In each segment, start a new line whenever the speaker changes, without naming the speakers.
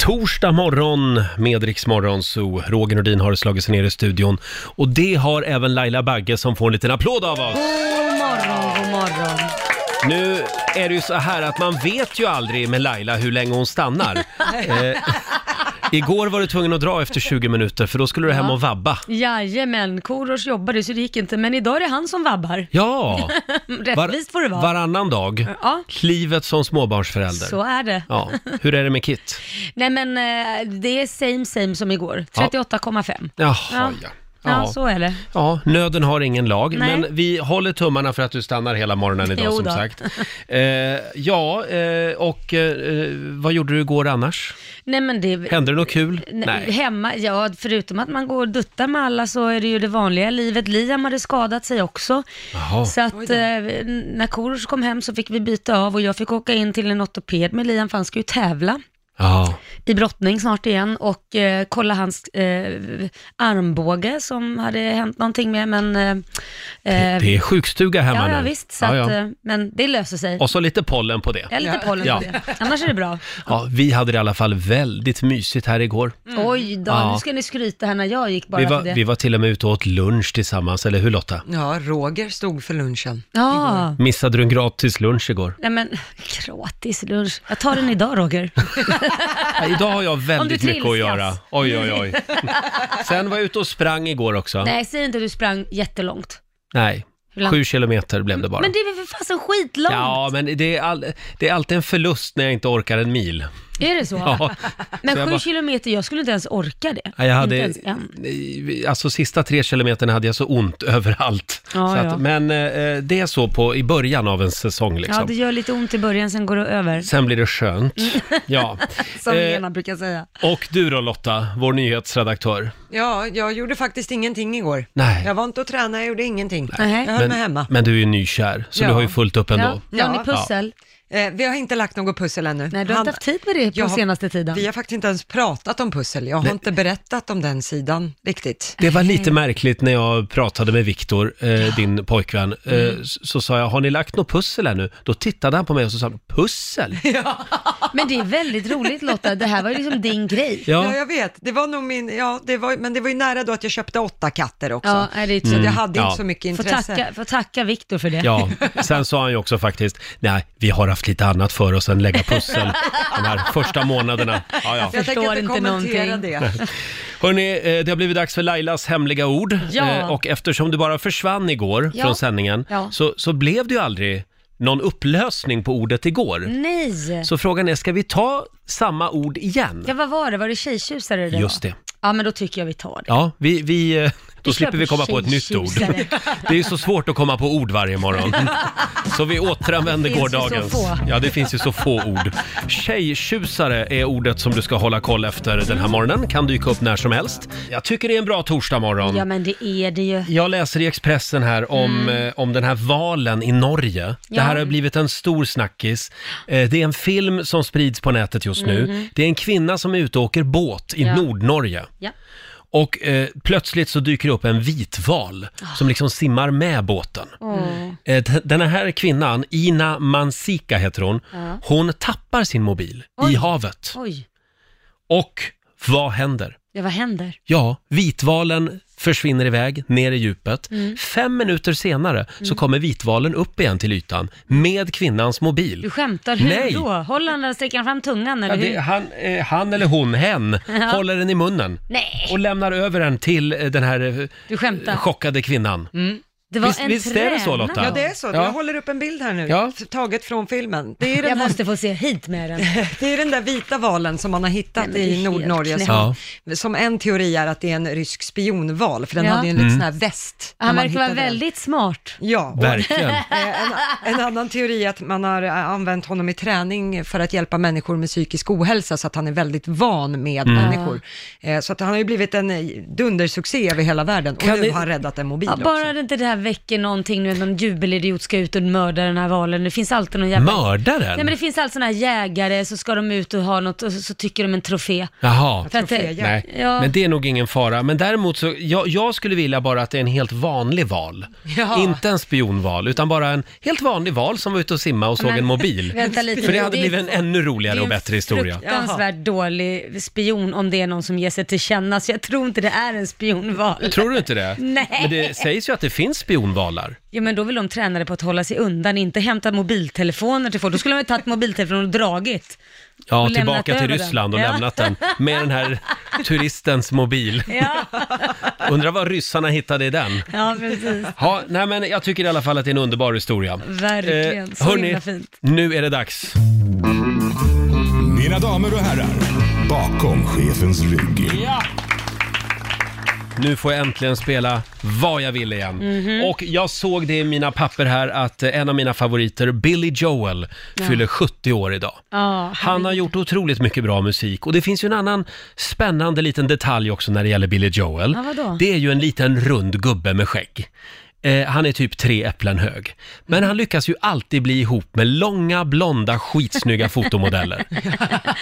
Torsdag morgon med Rix Morgon Zoo. Roger Nordin har slagit sig ner i studion. Och det har även Laila Bagge som får en liten applåd av oss.
God morgon, god morgon.
Nu är det ju så här att man vet ju aldrig med Laila hur länge hon stannar. Eh, igår var du tvungen att dra efter 20 minuter för då skulle du hem och vabba.
Jajamän, Korosh jobbade så det gick inte, men idag är det han som vabbar.
Ja!
Rättvist får det vara.
Varannan dag.
Ja.
Livet som småbarnsförälder.
Så är det.
Ja. Hur är det med Kit?
Nej men eh, det är same same som igår, 38,5.
Jaha, ja.
Ja. Ja, så är det.
Ja, nöden har ingen lag,
Nej.
men vi håller tummarna för att du stannar hela morgonen idag
Jo
som
då.
sagt. Eh, ja, eh, och eh, vad gjorde du igår annars?
Nej men det...
Hände det något kul?
Nej. Hemma, ja förutom att man går och duttar med alla så är det ju det vanliga livet. Liam hade skadat sig också.
Jaha.
Så att eh, när Korosh kom hem så fick vi byta av och jag fick åka in till en ortoped med Liam för han ska ju tävla.
Ja.
i brottning snart igen och eh, kolla hans eh, armbåge som hade hänt någonting med men... Eh, eh,
Det är sjukstuga hemma
ja,
nu.
ja, visst, så
Ja,
Att,
ja.
eh, men det löser sig.
Och så lite pollen på det.
Jag är lite pollen
Ja.
på det. Annars är det bra.
Ja, vi hade det i alla fall väldigt mysigt här igår.
Mm. Oj då,
Ja.
nu ska ni skryta här när jag gick bara
Vi
för det.
var, vi var till och med ute och åt lunch tillsammans, eller hur Lotta?
Ja, Roger stod för lunchen.
Ja,
Missade du en gratis lunch igår?
nej men gratis lunch. Jag tar den idag Roger.
Ja, idag har jag väldigt
Om du
mycket att
trilskas.
göra. Oj, oj, oj. Sen var jag ute och sprang igår också.
Nej, säg inte du sprang jättelångt.
Nej.
Hur långt?
Sju kilometer blev det bara.
Men det är väl för fasen skitlångt?
Ja, men det är, all, det är alltid en förlust när jag inte orkar en mil.
Är det så?
Ja.
Men
Så jag
sju
bara-
kilometer, jag skulle inte ens orka det.
Ja, Jag hade,
Inte ens en.
alltså sista tre kilometerna hade jag så ont överallt.
Ja,
så att,
ja.
Men eh, det är så på, i början av en säsong liksom.
Ja, det gör lite ont i början, sen går det Mm. över.
Sen blir det skönt. Ja.
Som
Eh,
Lena brukar säga.
och du då Lotta, vår nyhetsredaktör.
Ja, jag gjorde faktiskt ingenting igår.
Nej.
Jag var inte och tränade, jag gjorde ingenting.
Nej.
Jag höll mig hemma.
men du är ju nykär, så
Ja.
du har ju fullt upp ändå.
Ja, ja, ni
Ja.
pussel.
Eh, vi har inte lagt något pussel ännu.
Nej, du har inte haft tid med det på
Jag har-
senaste tiden.
Vi har faktiskt inte ens pratat om pussel. Jag har inte berättat om den sidan riktigt.
Det var lite märkligt när jag pratade med Viktor, eh, din pojkvän. Eh,
Mm.
s- så sa jag, har ni lagt något pussel ännu? Då tittade han på mig och så sa, han, pussel?
Men det är väldigt roligt Lotta, det här var ju liksom din grej.
Ja.
Ja,
jag vet. Det var nog min, ja, det var, men det var ju nära då att jag köpte åtta katter också.
Ja, är det är
Så
tur.
jag hade
Mm. Ja.
inte så mycket
Får
intresse.
tacka, får tacka Viktor för det.
ja. Sen sa han ju också faktiskt, nej, vi har haft lite annat för oss än lägga pussel de här första månaderna. Ja, ja.
Jag
Förstår
tänker inte
inte
kommentera
någonting.
det.
Hörni, eh, det har blivit dags för Lailas hemliga ord.
Ja.
Eh, Och eftersom du bara försvann igår
Ja.
från sändningen
Ja.
så, så blev det ju aldrig någon upplösning på ordet igår.
Nej!
Så frågan är, ska vi ta samma ord igen?
Ja, vad var det? Var det tjejtjusare det
Just
var?
det.
Ja, men då tycker jag vi tar det.
Ja, vi, vi, eh, då
Vi
slipper
kör
vi komma på ett nytt ord.
tjejtjusare.
Det är ju så svårt att komma på ord varje morgon. Så vi återanvänder
Det finns ju
gårdagens.
så få.
Ja, det finns ju så få ord. Tjejtjusare är ordet som du ska hålla koll efter den här morgonen. Kan dyka upp när som helst. Jag tycker det är en bra torsdagmorgon.
Ja, men det är det ju.
Jag läser i Expressen här om, eh, om den här valen i Norge. Det
Mm. Ja.
här har blivit en stor snackis. Eh, det är en film som sprids på nätet just nu. Det är en kvinna som är ute och åker båt i
Mhm. Ja.
Nordnorge.
Ja.
Och eh, plötsligt så dyker det upp en vitval som liksom simmar med båten.
Mm.
Eh, d- den här kvinnan, Ina Mansika heter hon,
Ja.
hon tappar sin mobil i
Oj.
havet.
Oj,
Och vad händer?
ja, vad händer?
Ja, vitvalen försvinner iväg ner i djupet.
Mm.
Fem minuter senare så kommer vitvalen upp igen till ytan med kvinnans
Du
mobil.
skämtar, hur
Nej.
då? Håller han den, sträcker han fram tungan
Ja,
eller hur?
det, han, eh, han eller hon, hen, håller den i munnen
Nej,
och lämnar över den till eh, den här eh,
du skämtar.
chockade kvinnan.
Det var
Mm. Visst-
en
visst är det så, Lotta?
Ja,
tränare.
det är så.
Ja.
Jag håller upp en bild här nu,
Ja.
f- taget från filmen. Det är, den
Jag
här,
måste få se hit med den.
det är den där vita valen som man har
Nej,
hittat
men det är
i
helt
Nordnorge.
knäppt.
Som, som en teori är att det är en rysk spionval, för den
Ja.
hade ju en liten
Mm.
sån här väst. när
Han
man
verkar vara
hittade den.
väldigt smart.
Ja, och
Verkligen.
eh, en, en annan teori är att man har eh, använt honom i träning för att hjälpa människor med psykisk ohälsa, så att han är väldigt van med
Mm.
människor. Eh, Så att han har ju blivit en eh, dundersuccé över hela världen och
Kan
nu
ni-
har han räddat en mobil
Ja,
också.
bara det inte det här väcker någonting, nu någon jubelidiot ska ut och mörda den här valen. Det finns alltid någon jävla... Nej men
Mördaren?
det finns alltid sådana här jägare, så ska de ut och ha något och så, så tycker de en trofé.
Jaha.
För att det-
Troféjakt.
Nej,
Ja.
men det är nog ingen fara. Men däremot så, jag, jag skulle vilja bara att det är en helt vanlig val.
Ja.
Inte en spionval, utan bara en helt vanlig val som var ute och simma och såg
Men-
en mobil.
Vänta lite
För det
nu,
hade
är-
blivit en ännu roligare och bättre historia.
Det är en fruktansvärt dålig spion om det är någon som ger sig till känna, så jag tror inte det är en spionval.
Tror du inte det?
Nej.
Men det sägs ju att det finns spionvalar.
Ja men då vill de träna det på att hålla sig undan, inte hämta mobiltelefoner till folk. Då skulle de ha tagit mobiltelefoner och dragit.
Ja,
Och lämnat
tillbaka till
över den.
Ryssland och
Ja.
lämnat den med den här turistens mobil.
Ja,
Undrar vad ryssarna hittade i den.
ja precis.
Ja, nej men jag tycker i alla fall att det är en underbar historia. Eh,
Verkligen. Så himla fint.
nu är det dags.
Mina damer och herrar, bakom chefens rygg.
Nu får jag äntligen spela vad jag vill igen.
Mhm.
Och jag såg det i mina papper här att eh, en av mina favoriter, Billy Joel, fyller 70 år idag.
Ja,
Han har gjort otroligt mycket bra musik och det finns ju en annan spännande liten detalj också när det gäller Billy Joel.
Ja, vadå?
Det är ju en liten rund gubbe med skägg. Eh, han är typ tre äpplen hög. Men han lyckas ju alltid bli ihop med långa, blonda, skitsnygga fotomodeller.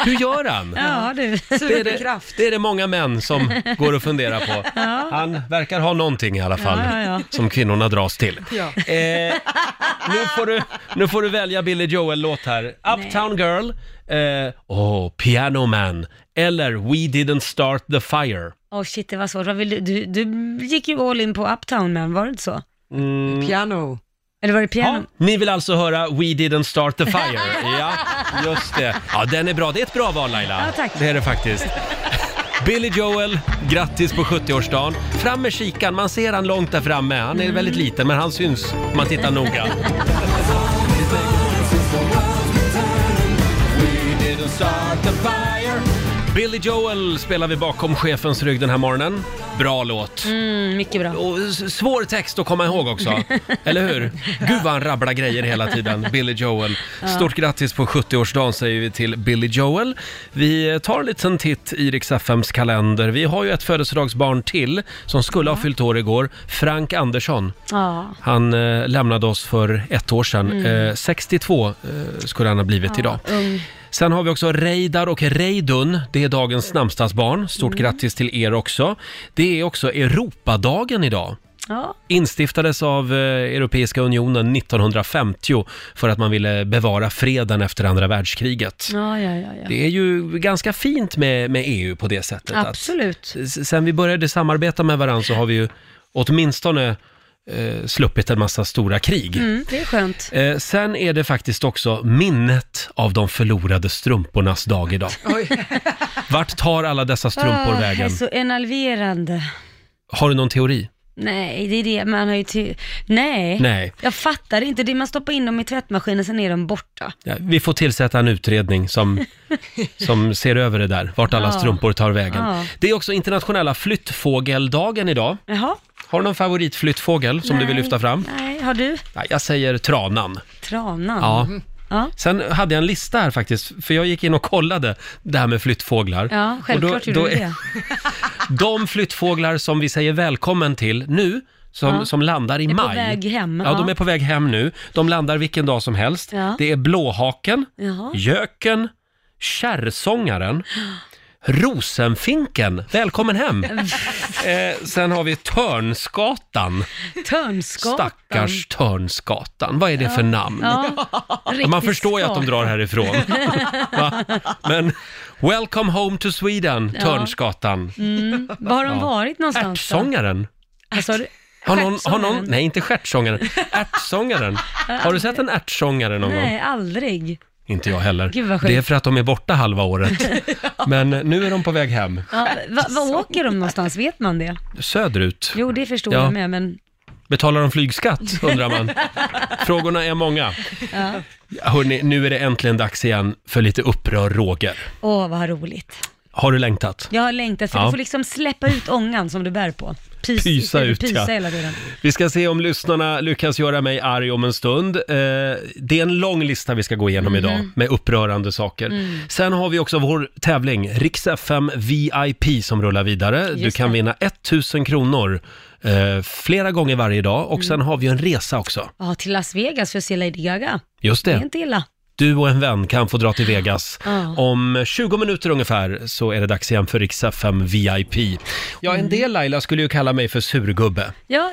Hur gör han?
ja du.
Det är det, det är det många män som går och funderar på. Han verkar ha någonting i alla fall
Ja, ja, ja.
som kvinnorna dras till.
Ja.
Eh, nu, får du, nu får du välja Billy Joel-låt här. Uptown Girl, eh, oh, Piano Man eller We Didn't Start The Fire.
Åh shit, det var svårt. Vad vill du? Du, du gick ju all in på Uptown Man, var det inte så?
Piano.
Eller var det piano?
Ja, Mm. ni vill alltså höra We Didn't Start The Fire. Ja, just det. Ja, den är bra. Det är ett bra val Laila.
Ja, tack.
Det är det faktiskt. Billy Joel, grattis på 70-årsdagen. Fram med kikan, man ser han långt där framme. Han
Mm.
är väldigt liten, men han syns om man tittar noga. Billy Joel spelar vi bakom chefens rygg den här morgonen. Bra låt.
Mm, mycket bra.
Och s- svår text att komma ihåg också, eller hur? Gud vad han rabblar grejer hela tiden, Billy Joel. Stort grattis på 70-årsdagen säger vi till Billy Joel. Vi tar en liten titt i Rix FMs kalender. Vi har ju ett födelsedagsbarn till som skulle ha fyllt år igår, Frank Andersson.
Ja.
Han eh, lämnade oss för ett år sedan. Eh, 62 eh, skulle han ha blivit idag.
Mm. ung.
Sen har vi också Reidar och Reidun. Det är
Mm.
dagens namnsdagsbarn. Stort grattis till er också. Det är också Europadagen idag.
ja.
Instiftades av eh, Europeiska unionen 1950 för att man ville bevara freden efter andra världskriget.
Ja, ja, ja, ja.
Det är ju ganska fint med, med EU på det sättet. att-
Absolut.
S- Sen vi började samarbeta med varandra så har vi ju åtminstone eh, sluppit en massa stora krig.
Mm, det är skönt.
Eh, sen är det faktiskt också minnet av de förlorade strumpornas dag idag.
Oj.
Vart tar alla dessa strumpor
Ah,
vägen?
Så enerverande.
Har du någon teori?
Nej, det är det man har ju till... Nej.
Nej.
Jag fattar inte. Det är man stoppar in dem i tvättmaskinen, sen är de borta.
Ja, vi får tillsätta en utredning som, som ser över det där, vart alla
Ja.
strumpor tar vägen.
Ja.
Det är också internationella flyttfågeldagen idag.
Jaha.
Har du någon favoritflyttfågel som du vill
Nej.
lyfta fram?
Nej, har du?
Ja, jag säger tranan.
Tranan?
Ja.
Ja.
Sen hade jag en lista här faktiskt, för jag gick in och kollade det här med flyttfåglar.
Ja, självklart
Och
gjorde
då
du det.
De flyttfåglar som vi säger välkommen till nu, som,
Ja.
som landar i
Är på
maj.
väg hem,
Ja,
ja.
de är på väg hem nu. De landar vilken dag som helst.
Ja.
Det är blåhaken,
Jaha.
göken, kärrsångaren, rosenfinken. Välkommen hem! eh, sen har vi törnskatan.
Törnskatan.
Stackars törnskatan. Vad är det för namn?
Ja,
Ja,
riktigt
Man förstår ju att de
skak.
drar härifrån. Va? Men welcome home to Sweden,
Ja.
Törnsgatan.
Mm. Var har de varit någonstans?
Ärtsångaren.
Alltså,
Har någon, har någon,
Stjärtsångaren?
nej, inte stjärtsångaren. Ärtsångaren. Har du sett en ärtsångare någon gång?
nej, aldrig.
Inte jag heller.
Gud, vad sjukt.
det är för att de är borta halva året. Men nu är de på väg hem.
Ja, va, vad åker de någonstans? Vet man det?
Söderut.
Jo, det förstår
Ja.
jag med, men
Betalar de flygskatt, undrar man. Frågorna är många. Hörrni, nu är det äntligen dags igen för lite upprör Roger.
åh, vad roligt.
Har du längtat?
Jag har längtat, för
Ja.
du får liksom släppa ut ångan som du bär på. pis,
Pysa ut,
pysa
ja.
hela tiden.
Vi ska se om lyssnarna lyckas göra mig arg om en stund. Eh, det är en lång lista vi ska gå igenom
Mm.
idag med upprörande saker. Sen har vi också vår tävling, Rix FM VIP som rullar vidare. du
Just
kan
det.
vinna 1000 kronor eh, flera gånger varje dag
Mm.
och sen har vi en resa också.
Ja, till Las Vegas för att se Lady Gaga.
Just
Det är
det,
inte illa.
du och en vän kan få dra till Vegas.
Ja.
Om 20 minuter ungefär så är det dags igen för Rix FM VIP. Ja,
Mm.
en del Laila skulle ju kalla mig för surgubbe.
Ja,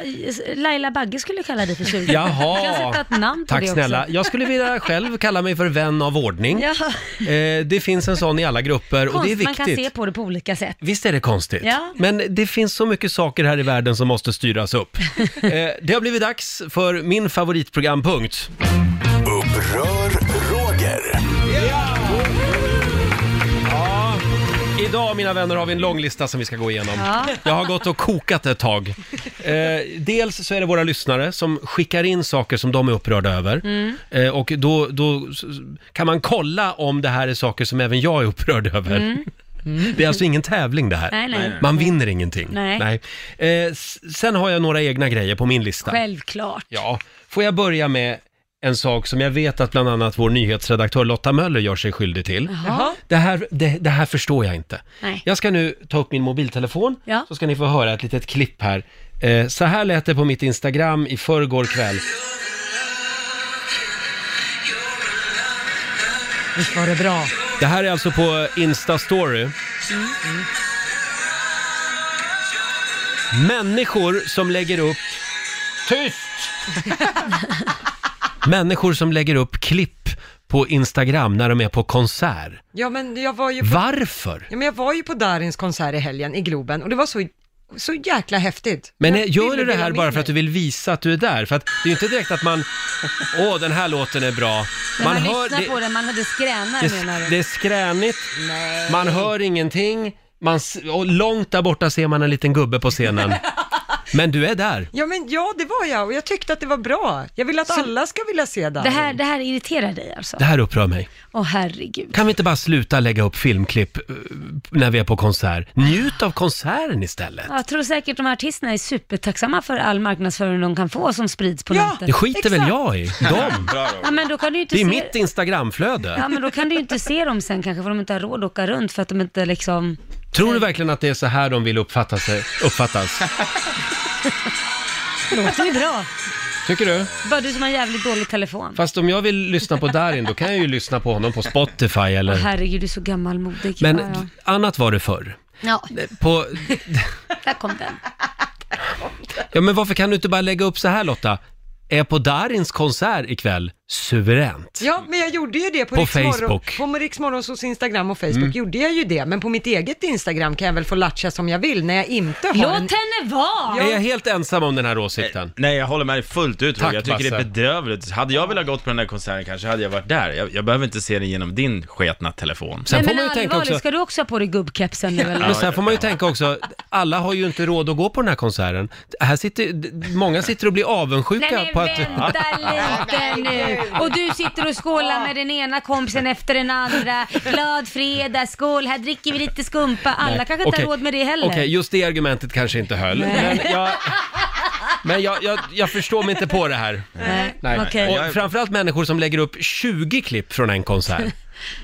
Laila Bagge skulle kalla dig för surgubbe.
Jaha.
Du kan sätta ett namn på
Tack
det också.
snälla. Jag skulle vilja själv kalla mig för vän av ordning.
Ja.
Eh, det finns en sån i alla grupper och det är
Konst, man kan se
viktigt.
på det på olika sätt.
Visst är det konstigt?
Ja.
Men det finns så mycket saker här i världen som måste styras upp. Eh, det har blivit dags för min favoritprogrampunkt.
Upprör Roger.
Idag, mina vänner, har vi en lång lista som vi ska gå igenom.
Ja.
Jag har gått och kokat ett tag. Eh, dels så är det våra lyssnare som skickar in saker som de är upprörda över.
Mm.
Eh, och då, då s- s- kan man kolla om det här är saker som även jag är upprörd över. Det är alltså ingen tävling det här.
Mm. Nej, nej.
Man vinner ingenting.
Nej.
Eh, s- sen har jag några egna grejer på min lista.
Självklart.
Ja, får jag börja med en sak som jag vet att bland annat vår nyhetsredaktör Lotta Möller gör sig skyldig till.
Jaha.
Det här, det, det här förstår jag inte.
Nej.
Jag ska nu ta upp min mobiltelefon,
Ja.
så ska ni få höra ett litet klipp här. Eh, så här lät det på mitt Instagram i förrgår kväll.
Visst var det bra?
Det här är alltså på Insta-story. Människor som lägger upp... Tyst! Människor som lägger upp klipp på Instagram när de är på konsert.
Ja, men jag var ju på,
Varför?
ja, men jag var ju på Darins konsert i helgen i Globen och det var så, så jäkla häftigt.
Men eh,
Jag
gör
ville
du det
dela
här
med
bara för att
mig.
du vill visa att du är där? För att det är ju inte direkt att man... Åh, den här låten är bra.
Men man, lyssnar
det,
på den, man hade skränar menar
det,
du?
det är skränigt, man hör ingenting, man, s- och långt där borta ser man en liten gubbe på scenen. Men du är där.
Ja, men ja, det var jag och jag tyckte att det var bra. Jag vill att alla ska vilja se Darin.
Det här, det här irriterar dig alltså?
Det här upprör mig.
Åh herregud.
Kan vi inte bara sluta lägga upp filmklipp eh, när vi är på konsert? Njut av konserten istället.
Jag tror säkert de här artisterna är supertacksamma för all marknadsföring de kan få som sprids på
Ja.
Det
nätet.
skiter väl
Exakt.
jag i. De.
Ja, men då kan du ju inte
Det är
se...
mitt Instagramflöde.
Ja, men då kan du ju inte se dem sen kanske, för de inte har råd att åka runt för att de inte liksom...
Tror du verkligen att det är så här de vill uppfatta sig, uppfattas?
Det låter ju bra.
Tycker du?
Bara du som har en jävligt dålig telefon.
Fast om jag vill lyssna på Darin, då kan jag ju lyssna på honom på Spotify
Åh
eller...
herregud, du är så gammalmodig.
Men
ja,
annat var det förr.
ja. ja,
På...
där kom den.
Ja, men varför kan du inte bara lägga upp så här Lotta? Är på Darins konsert ikväll, suveränt.
Ja, men jag gjorde ju det på,
På
Rix Morgon-
Facebook. Mm.
På Rix Morgonzos Instagram och Facebook gjorde jag ju det, men på mitt eget Instagram kan jag väl få latcha som jag vill när jag inte har en...
Låt henne vara!
Är jag helt ensam om den här åsikten?
Nej, jag håller med dig fullt ut.
Tack,
Roger. jag tycker det
Basse.
är bedrövligt. Hade jag velat gått på den där konserten kanske hade jag varit där. Jag, jag behöver inte se den genom din sketna telefon.
Sen
Nej,
får
men
man ju tänka
allvarligt,
också...
ska du också ha på dig gubbkepsen nu eller?
Men sen får man ju tänka också, alla har ju inte råd att gå på den här konserten. Här sitter, d- många sitter och blir avundsjuka
Nej men
på att...
vänta lite nu! Och du sitter och skålar med den ena kompisen efter den andra. Glad fredag, skål, här dricker vi lite skumpa. Alla kanske inte
Okej.
har råd med det heller.
Okej, just det argumentet kanske inte höll. Men, jag, men jag, jag, jag förstår mig inte på det här.
Nej.
Nej.
Okej.
Och framförallt människor som lägger upp 20 klipp från en konsert.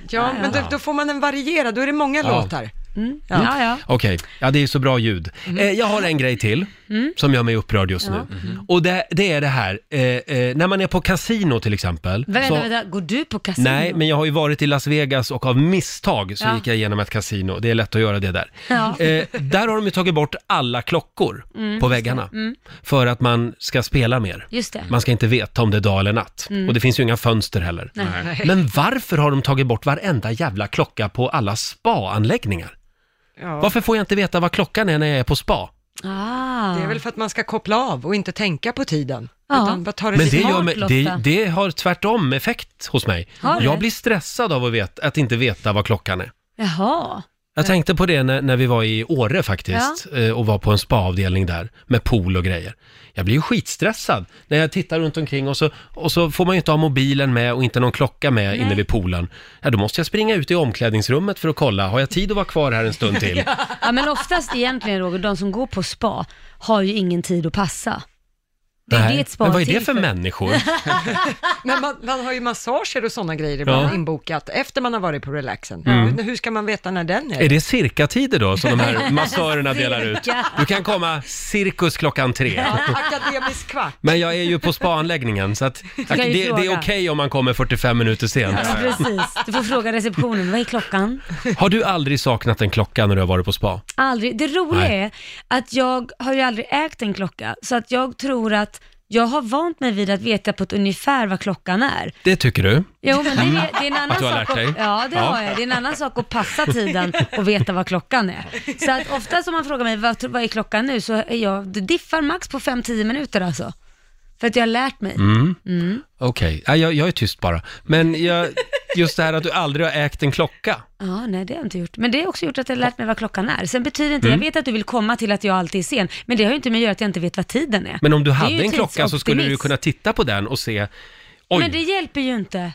Ja, men då, då får man en varierad, då är det många
Ja.
låtar.
Ja, Mm. ja.
Mm. Okej, ja det är så bra ljud. Eh, jag har en grej till
Mm.
som gör mig upprörd just nu. Mm-hmm. Och det, det är det här, eh, eh, när man är på kasino till exempel.
Vänta,
så-
vänta, går du på kasino?
Nej, men jag har ju varit i Las Vegas och av misstag så
Ja.
gick jag igenom ett kasino. Det är lätt att göra det där.
Ja. Mm.
Eh, där har de ju tagit bort alla klockor på väggarna. För att man ska spela mer.
Just det.
Man ska inte veta om det är dag eller natt.
Mm.
Och det finns ju inga fönster heller. Men varför har de tagit bort varenda jävla klocka på alla spa-anläggningar?
Ja.
Varför får jag inte veta vad klockan är när jag är på spa?
Ah.
Det är väl för att man ska koppla av och inte tänka på tiden.
Ja.
Utan bara ta det
Men
lite
det, gör
smart.
mig,
Lotta.
det, det har tvärtom effekt hos mig.
Har det?
Jag blir stressad av att, veta, att inte veta vad klockan är.
Jaha.
Jag tänkte på det när, när vi var i Åre faktiskt eh, och var på en spaavdelning där med pool och grejer. Jag blir ju skitstressad när jag tittar runt omkring och så, och så får man ju inte ha mobilen med och inte någon klocka med inne vid poolen. Ja, då måste jag springa ut i omklädningsrummet för att kolla, har jag tid att vara kvar här en stund till?
Ja men oftast egentligen Roger, de som går på spa har ju ingen tid att passa. Det är det ett spa
Men vad är
till
det för människor?
Men man, man har ju massager och sådana grejer ibland
Ja.
inbokat efter man har varit på relaxen. Men Hur ska man veta när den är?
Är det cirkatider då som de här massörerna delar ut?
Cirka.
Du kan komma cirkus klockan tre.
Akademisk kvart.
Men jag är ju på spaanläggningen så att, det,
kan ju
det är okej
fråga.
om man kommer 45 minuter sent.
Ja, precis. Du får fråga receptionen, vad är klockan?
Har du aldrig saknat en klocka när du har varit på spa?
Aldrig. Det roliga
Nej.
är att jag har ju aldrig ägt en klocka, så att jag tror att jag har vant mig vid att veta på ett ungefär vad klockan är.
Det tycker du?
Jo, men det, är- det är en annan
Att du har
sak
lärt
att-
dig?
Ja, det
Ja.
har jag. Det är en annan sak att passa tiden och veta vad klockan är. Så att oftast om man frågar mig vad, tro- vad är klockan nu, så är jag, det diffar max på 5-10 minuter alltså. För att jag har lärt mig.
Mm.
Mm.
Okej, Nej, jag, jag är tyst bara. Men jag, just det här att du aldrig har ägt en klocka.
Ja, nej det har jag inte gjort. Men det har också gjort att jag har lärt mig vad klockan är. Sen betyder inte,
Mm.
jag vet att du vill komma till att jag alltid är sen, men det har ju inte med att göra att jag inte vet vad tiden är.
Men om du
Det är
hade
ju
en klocka så skulle du ju
tidsoptimism.
kunna titta på den och se Oj,
Men det hjälper ju inte.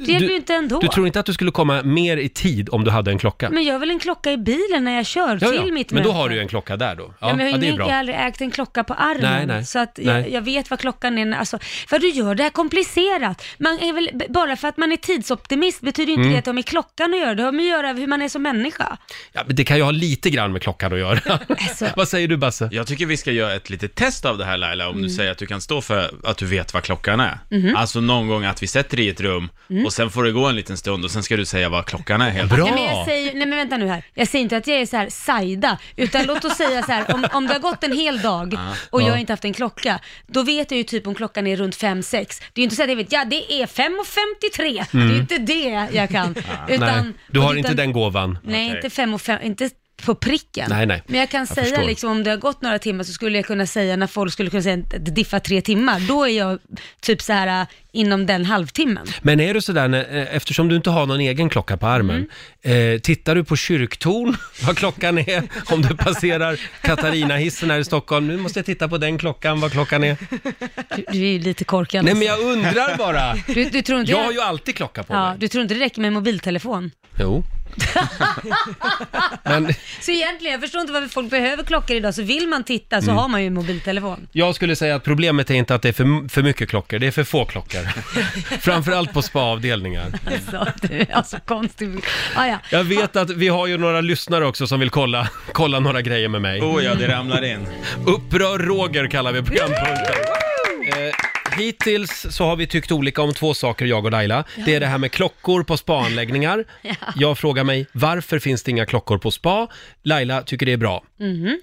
Det hjälper ju inte ändå.
du tror inte att du skulle komma mer i tid om du hade en klocka?
Men jag har väl en klocka i bilen när jag kör
Ja,
till
ja.
mitt
Men då
möte.
har du ju en klocka där då.
Ja, men jag,
ja
har ju
det
jag
är bra.
har aldrig ägt en klocka på armen,
Nej, nej.
så att jag,
Nej.
jag vet vad klockan är. när- Alltså, för du gör det här komplicerat. Man är väl, b- bara för att man är tidsoptimist betyder ju inte
Mm.
det att det har med klockan att göra, det har med att göra hur man är som människa.
Ja, men det kan ju ha lite grann med klockan att göra.
Alltså.
Vad säger du Basse?
Jag tycker vi ska göra ett litet test av det här Laila, om
Mm.
du säger att du kan stå för att du vet vad klockan är.
Mhm.
Alltså någon gång att vi sätter dig i ett rum och sen får det gå en liten stund och sen ska du säga vad klockan är helt
Mm. Nej, men jag säger, nej men vänta nu här, jag säger inte att jag är så här sajda, utan låt oss säga så här, om, om det har gått en hel dag
Ah.
och jag har inte haft en klocka, då vet jag ju typ om klockan är runt 5-6. Det är ju inte så att jag vet, ja det är 5.53, det är ju inte det jag kan. Utan,
Mm. Ah, Nej, du har
utan,
inte den gåvan.
Nej,
Okej.
inte 5 och fem, inte på pricken.
Nej, nej.
Men jag kan
Jag
säga
förstår.
liksom om det har gått några timmar så skulle jag kunna säga när folk skulle kunna säga att det diffar tre timmar, då är jag typ så här äh, inom den halvtimmen.
Men är du sådär, när- eh, eftersom du inte har någon egen klocka på armen,
Mm.
eh, tittar du på kyrktorn, vad klockan är, om du passerar Katarina-hissen här i Stockholm, nu måste jag titta på den klockan, vad klockan är.
Du, du är ju lite korkad.
Nej
alltså.
men jag undrar bara,
du, du tror inte
jag
jag-
har ju alltid klocka på
Ja,
mig.
du tror inte det räcker med mobiltelefon?
Jo. Men
Så egentligen, jag förstår inte varför folk behöver klockor idag, så vill man titta så
Mm.
har man ju en mobiltelefon.
jag skulle säga att problemet är inte att det är för, för mycket klockor, det är för få klockor. Framförallt på spaavdelningar.
Alltså, du är alltså konstig. Ah, ja.
Jag vet att vi har ju några lyssnare också som vill kolla, kolla några grejer med mig.
Oh ja, det ramlar in.
Upprör Roger kallar vi programpunkten.
Mm.
Eh, Hittills så har vi tyckt olika om två saker, jag och Laila. Det är det här med klockor på spaanläggningar. Jag frågar mig, varför finns det inga klockor på spa? Laila tycker det är bra.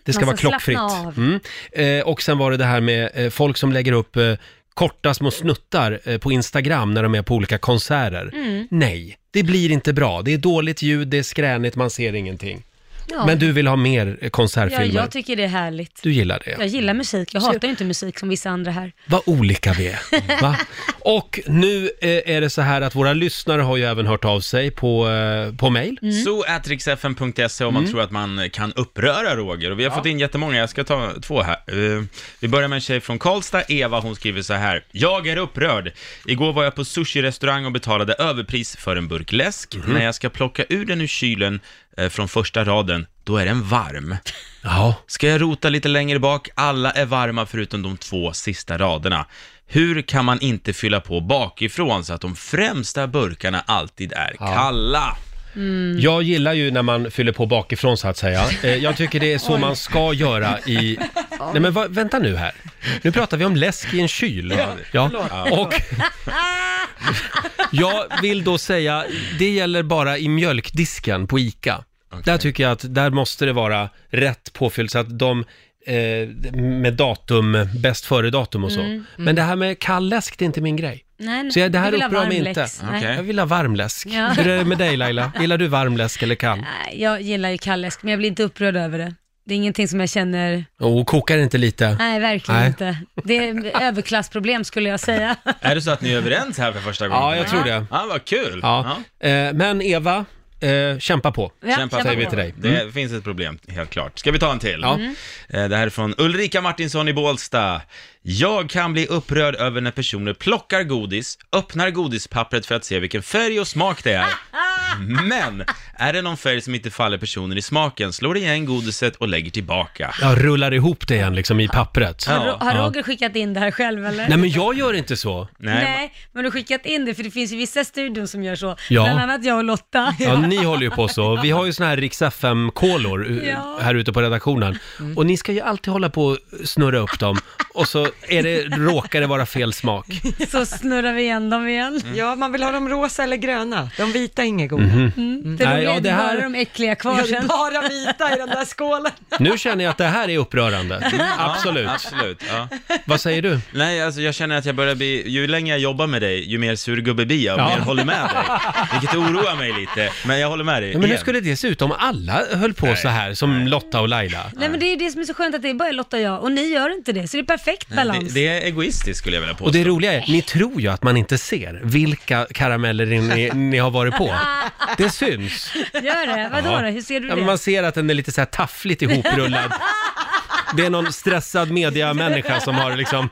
Det ska
man
vara
ska
klockfritt.
slappna av.
Mm. Eh, och sen var det det här med eh, folk som lägger upp eh, korta små snuttar eh, på Instagram när de är på olika konserter.
Mm.
Nej, det blir inte bra. Det är dåligt ljud, det är skränigt, man ser ingenting.
Ja.
Men du vill ha mer eh,
ja,
konsertfilmer?
jag tycker det är härligt.
Du gillar det?
Jag gillar musik, jag hatar ju inte musik som vissa andra här.
Vad olika vi är. Mm. Va? Och nu eh, är det så här att våra lyssnare har ju även hört av sig på, eh, på mail.
zoo.riksfn.se om man tror att man kan uppröra Roger. Och vi har fått in jättemånga, jag ska ta två här. Eh, vi börjar med en tjej från Karlstad, Eva, hon skriver så här. Jag är upprörd. Igår var jag på sushi-restaurang och betalade överpris för en burk läsk. När jag ska plocka ur den ur kylen eh, från första raden, då är den varm.
Ja.
Ska jag rota lite längre bak? Alla är varma förutom de två sista raderna. Hur kan man inte fylla på bakifrån så att de främsta burkarna alltid är kalla? Mm.
Jag gillar ju när man fyller på bakifrån så att säga. Eh, jag tycker det är så man ska göra i... Nej men va, vänta nu här. Nu pratar vi om läsk i en kyl. Ja. Och... Jag vill då säga, det gäller bara i mjölkdisken på ICA. Där tycker jag att där måste det vara rätt påfylld så att de eh, med datum, bäst före datum och så.
Mm.
Men det här med kall läsk, det är inte min grej.
Nej, nej.
Så jag, det här
Du vill ha
upprör mig
varm
inte. Mm.
läx. Nej.
Okej.
Jag vill ha varm läsk.
Ja.
Hur är det med dig Laila? Gillar du varm läsk eller kall?
Nej, jag gillar ju kalläsk, men jag blir inte upprörd över det. Det är ingenting som jag känner,
Och kokar inte lite?
nej verkligen
Nej.
inte. Det är överklassproblem skulle jag säga.
Är det så att ni är överens här för första gången? ah,
Ja, jag tror det.
Ja, vad kul.
Ja. Eh, Men Eva, eh, kämpa på.
Ja,
Kämpa,
kämpa
säger vi
på.
till dig. Det
Mm.
finns ett problem, helt klart. Ska vi ta en till? Eh, Det här är från Ulrika Martinsson i Bålsta. Jag kan bli upprörd över när personer plockar godis, öppnar godispappret för att se vilken färg och smak det är. Men är det någon färg som inte faller personen i smaken slår igen godiset och lägger tillbaka.
Jag rullar ihop det igen liksom i pappret.
Ja.
Har, Ro- har Roger skickat in det här själv eller?
Nej men jag gör inte så.
Nej,
Nej, men du har skickat in det för det finns ju vissa studion som gör så.
Ja.
Bland annat jag och Lotta.
Ja, ni håller ju på så. Vi har ju såna här Rix FM-kolor u-
Ja. Mm.
här ute på redaktionen. Och ni ska ju alltid hålla på och snurra upp dem. Och så är det, råkar det vara fel smak.
Så snurrar vi igen dem igen.
Mm.
Ja, man vill ha de rosa eller gröna. De vita är inget goda.
Mm. Det
Mhm. Nej,
roliga
ja,
är
det
det bara
här-
de äckliga
Vi
kvar
har ju
sen.
bara vita i den där skålen.
Nu känner jag att det här är upprörande. Absolut.
absolut. Ja.
Vad säger du?
Nej, alltså jag känner att jag börjar bli, ju längre jag jobbar med dig, ju mer surgubbe blir jag och
Ja.
mer håller med dig. Vilket oroar mig lite, men jag håller med dig.
Ja, men hur
igen.
skulle det se ut om alla höll på så här som Lotta och Laila?
Nej men det är ju det som är så skönt att det är bara Lotta och jag och ni gör inte det. Så det är perfekt balans.
det, det är egoistiskt skulle jag vilja påstå.
Och det roliga är, ni tror ju att man inte ser vilka karameller ni, ni har varit på. Det syns.
Gör det? Vadå
Ja.
då? Hur ser du
Ja,
det?
men man ser att den är lite så här taffligt ihoprullad. Det är någon stressad mediamänniska som har liksom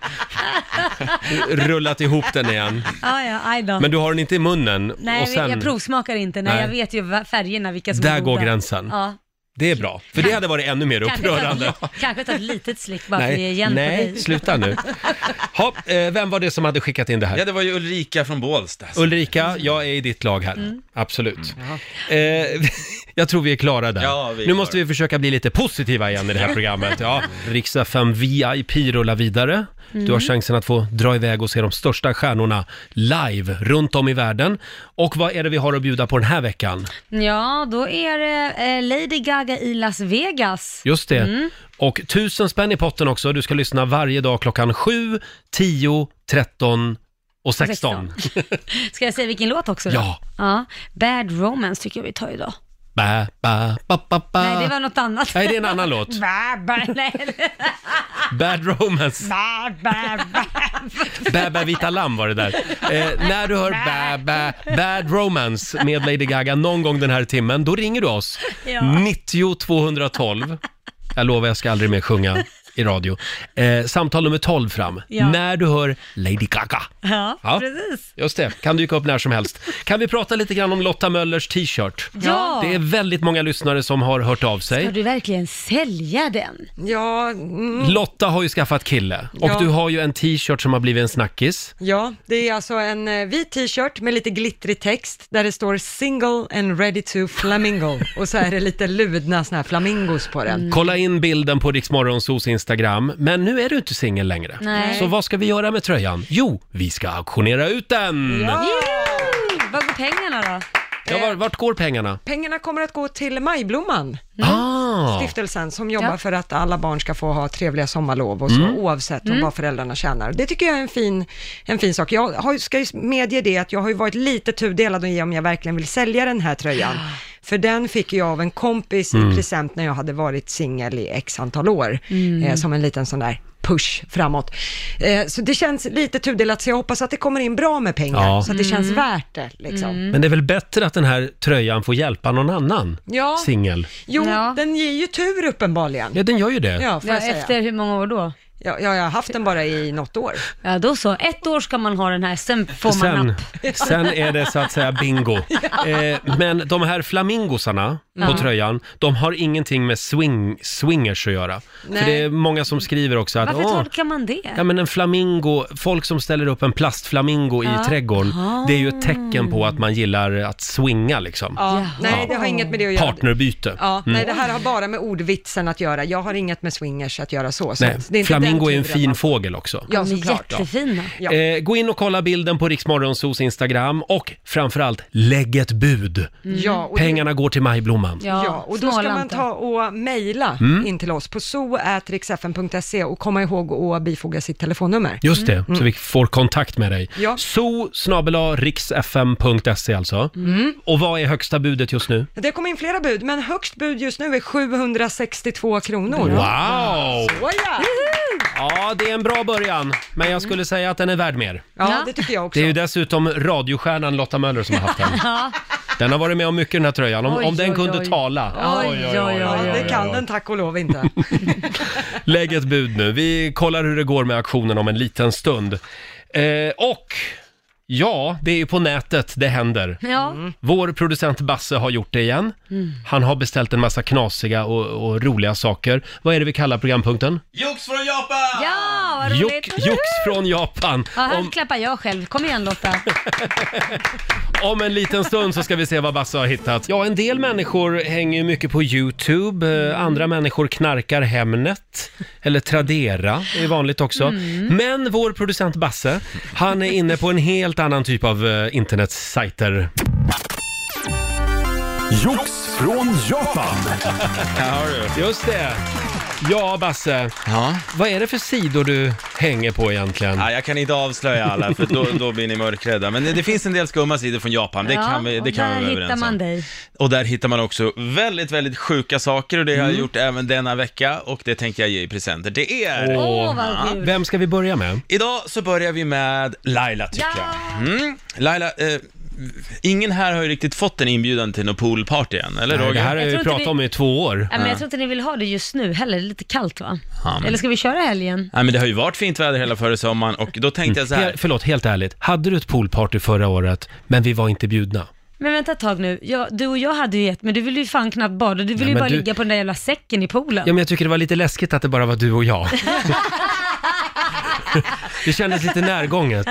rullat ihop den igen.
Ah, Ja, ja, aj då.
Men du har den inte i munnen.
Nej,
och sen,
jag provsmakar inte. Nej,
Nej.
jag vet ju va- färgerna, vilka som
Där
är goda.
går gränsen.
Ja.
Det är bra, för det hade varit ännu mer
Kanske ta,
upprörande.
ett, lit- kanske ta ett litet slick bara för att ge
Nej,
igen på
nej
dig.
sluta nu. Ha, eh, vem var det som hade skickat in det här?
Ja, det var ju Ulrika från Bålsta. så-
Ulrika, jag är i ditt lag här. Absolut. Eh, jag tror vi är klara där.
Ja, vi är
nu
klara.
måste vi försöka bli lite positiva igen i det här programmet. Ja. Rix FM VIP rullar vidare. Du har chansen att få dra iväg och se de största stjärnorna live runt om i världen. Och vad är det vi har att bjuda på den här veckan?
Ja, då är det eh, Lady Gaga i Las Vegas. Mm.
Just det. Och tusen spänn i potten också. Du ska lyssna varje dag klockan 7, 10, 13 och 16.
Ska jag säga vilken låt också då?
Ja.
ja. Bad Romance tycker jag vi tar idag.
Ba, ba, ba, ba, ba.
Nej, det var något annat.
Ah. Nej, det är en annan låt.
Ba, ba, nej.
Bad Romance.
Ba, ba, ba.
Bä, bä, vita lamm var det där. Eh, när du hör bä, bä, Bad Romance med Lady Gaga någon gång den här timmen, då ringer du oss.
Ja.
90 212. Jag lovar, jag ska aldrig mer sjunga i radio. Eh, samtal nummer 12 fram.
Ja.
När du hör Lady Gaga.
Ja,
Ja.
precis.
Just det, kan dyka upp när som helst. Kan vi prata lite grann om Lotta Möllers t-shirt?
Ja.
Det är väldigt många lyssnare som har hört av sig.
Ska du verkligen sälja den?
Ja, mm,
Lotta har ju skaffat kille och
Ja.
du har ju en t-shirt som har blivit en snackis.
ja, det är alltså en eh, vit t-shirt med lite glittrig text där det står single and ready to flamingo och så är det lite ludna såna här flamingos på den.
Kolla in bilden på Riksmorgonsos Instagram. Men nu är du inte singel längre.
Nej.
Så vad ska vi göra med tröjan? Jo, vi ska auktionera ut den! Ja.
Juhu! Vad går pengarna då?
var, vart går pengarna?
Pengarna kommer att gå till Majblomman,
Ah,
stiftelsen som jobbar
Ja.
för att alla barn ska få ha trevliga sommarlov och så, oavsett om vad föräldrarna tjänar. Det tycker jag är en fin, en fin sak. Jag har, ska ju medge det att jag har ju varit lite tudelad i om jag verkligen vill sälja den här tröjan. För den fick jag av en kompis i present när jag hade varit singel i x antal år, eh, som en liten sån där push framåt. Eh, så det känns lite tudelat, så jag hoppas att det kommer in bra med pengar,
Ja.
så att det känns värt det. Liksom.
Mm.
men det är väl bättre att den här tröjan får hjälpa någon annan
Ja.
singel?
Jo,
Ja.
den ger ju tur uppenbarligen.
Ja, den gör ju det.
Ja, får
Ja,
jag säga.
efter hur många år då?
Ja, ja, jag har haft den bara i något år.
Ja, då så. Ett år ska man ha den här, sen får man
Sen,
napp.
sen är det så att säga bingo. Eh, men de här flamingosarna
Mm.
på tröjan, de har ingenting med swing, swingers att göra. För
Nej.
det är många som skriver också att
Varför
"Åh,
tolkar man det?
Ja men en flamingo, folk som ställer upp en plastflamingo i trädgården, det är ju ett tecken på att man gillar att swinga liksom.
Ah. Ja,
Jaha.
Nej, det har inget med det att göra.
Partnerbyte. Mm.
Ja, Nej, det här har bara med ordvitsen att göra. Jag har inget med swingers att göra så. så
Nej,
att det är inte
flamingo
den
är en
turen
fin
man-
fågel också.
Ja,
de är
såklart. Ja.
jättefina.
Ja.
Eh, gå in och kolla bilden på Riksmorgonsos Instagram och framförallt lägg ett bud.
Mm.
Ja, och
Pengarna går till Majblomman.
Ja,
Ja, och då ska man
smålantar.
ta och mejla
Mm.
in till oss på so.riksfn.se och komma ihåg att bifoga sitt telefonnummer. Mm.
Just det,
Mm.
så vi får kontakt med dig.
Ja.
So riksfm.se alltså.
Mm.
Och vad är högsta budet just nu?
Det kom in flera bud, men högst bud just nu är 762 kronor.
Wow!
Åja!
Ja, det är en bra början, men
Mm.
jag skulle säga att den är värd mer.
Ja, det tycker jag också.
Det är ju dessutom radiostjärnan Lotta Möller som har haft den. Den har varit med om mycket den här tröjan, om,
Oj,
om den
oj,
kunde
oj.
tala.
Oj, oj, oj,
Ja,
oj,
det
oj.
kan den tack och lov inte.
Lägg ett bud nu. Vi kollar hur det går med auktionen om en liten stund. Eh, och, ja, det är ju på nätet det händer.
Ja, Mm.
Vår producent Basse har gjort det igen. Han har beställt en massa knasiga och, och roliga saker. Vad är det vi kallar programpunkten?
Jox från Japan!
ja vad roligt.
Jok- Jox från Japan.
Ja, här
Om,
klappar jag själv. Kom igen Lotta.
om en liten stund så ska vi se vad Basse har hittat. Ja, en del människor hänger ju mycket på YouTube. eh, Andra människor knarkar Hemnet. Eller Tradera, det är vanligt också. Men vår producent Basse, han är inne på en helt annan typ av eh, internetsajter.
Jox från Japan.
Ja, du.
Just det. Ja, Basse.
Ja.
Vad är det för sidor du hänger på egentligen?
Ja, jag kan inte avslöja alla, för då, då blir ni mörkrädda. Men det, det finns en del skumma sidor från Japan, det
ja,
kan vi, det
och
kan vi
där
vara
hittar
överens
man
om.
dig.
Och där hittar man också väldigt, väldigt sjuka saker och det
Mm.
har jag gjort även denna vecka och det tänkte jag ge i presenter till er.
Åh.
Åh, vad kul.
Vem ska vi börja med?
Idag så börjar vi med Laila tycker
Ja.
jag. Mm. Laila, eh, ingen här har ju riktigt fått en inbjudan till något poolparty än, eller
Nej,
Roger?
det här har
Jag
jag
tror
ju
inte
pratat
vi-
om i två år.
Ja, men jag tror inte ni vill ha det just nu heller, det är lite kallt va?
Ja, men-
Eller ska vi köra helgen?
Nej, men det har ju varit fint väder hela förra sommaren och då tänkte jag så här.
He- förlåt, helt ärligt. Hade du ett poolparty förra året, men vi var inte bjudna?
Men vänta ett tag nu, jag, du och jag hade ju ett, men du ville ju fan knappt bada, du ville ju
men
bara
du-
ligga på den där jävla säcken i poolen.
Ja, men jag tycker det var lite läskigt att det bara var du och jag. Det kändes lite närgånget.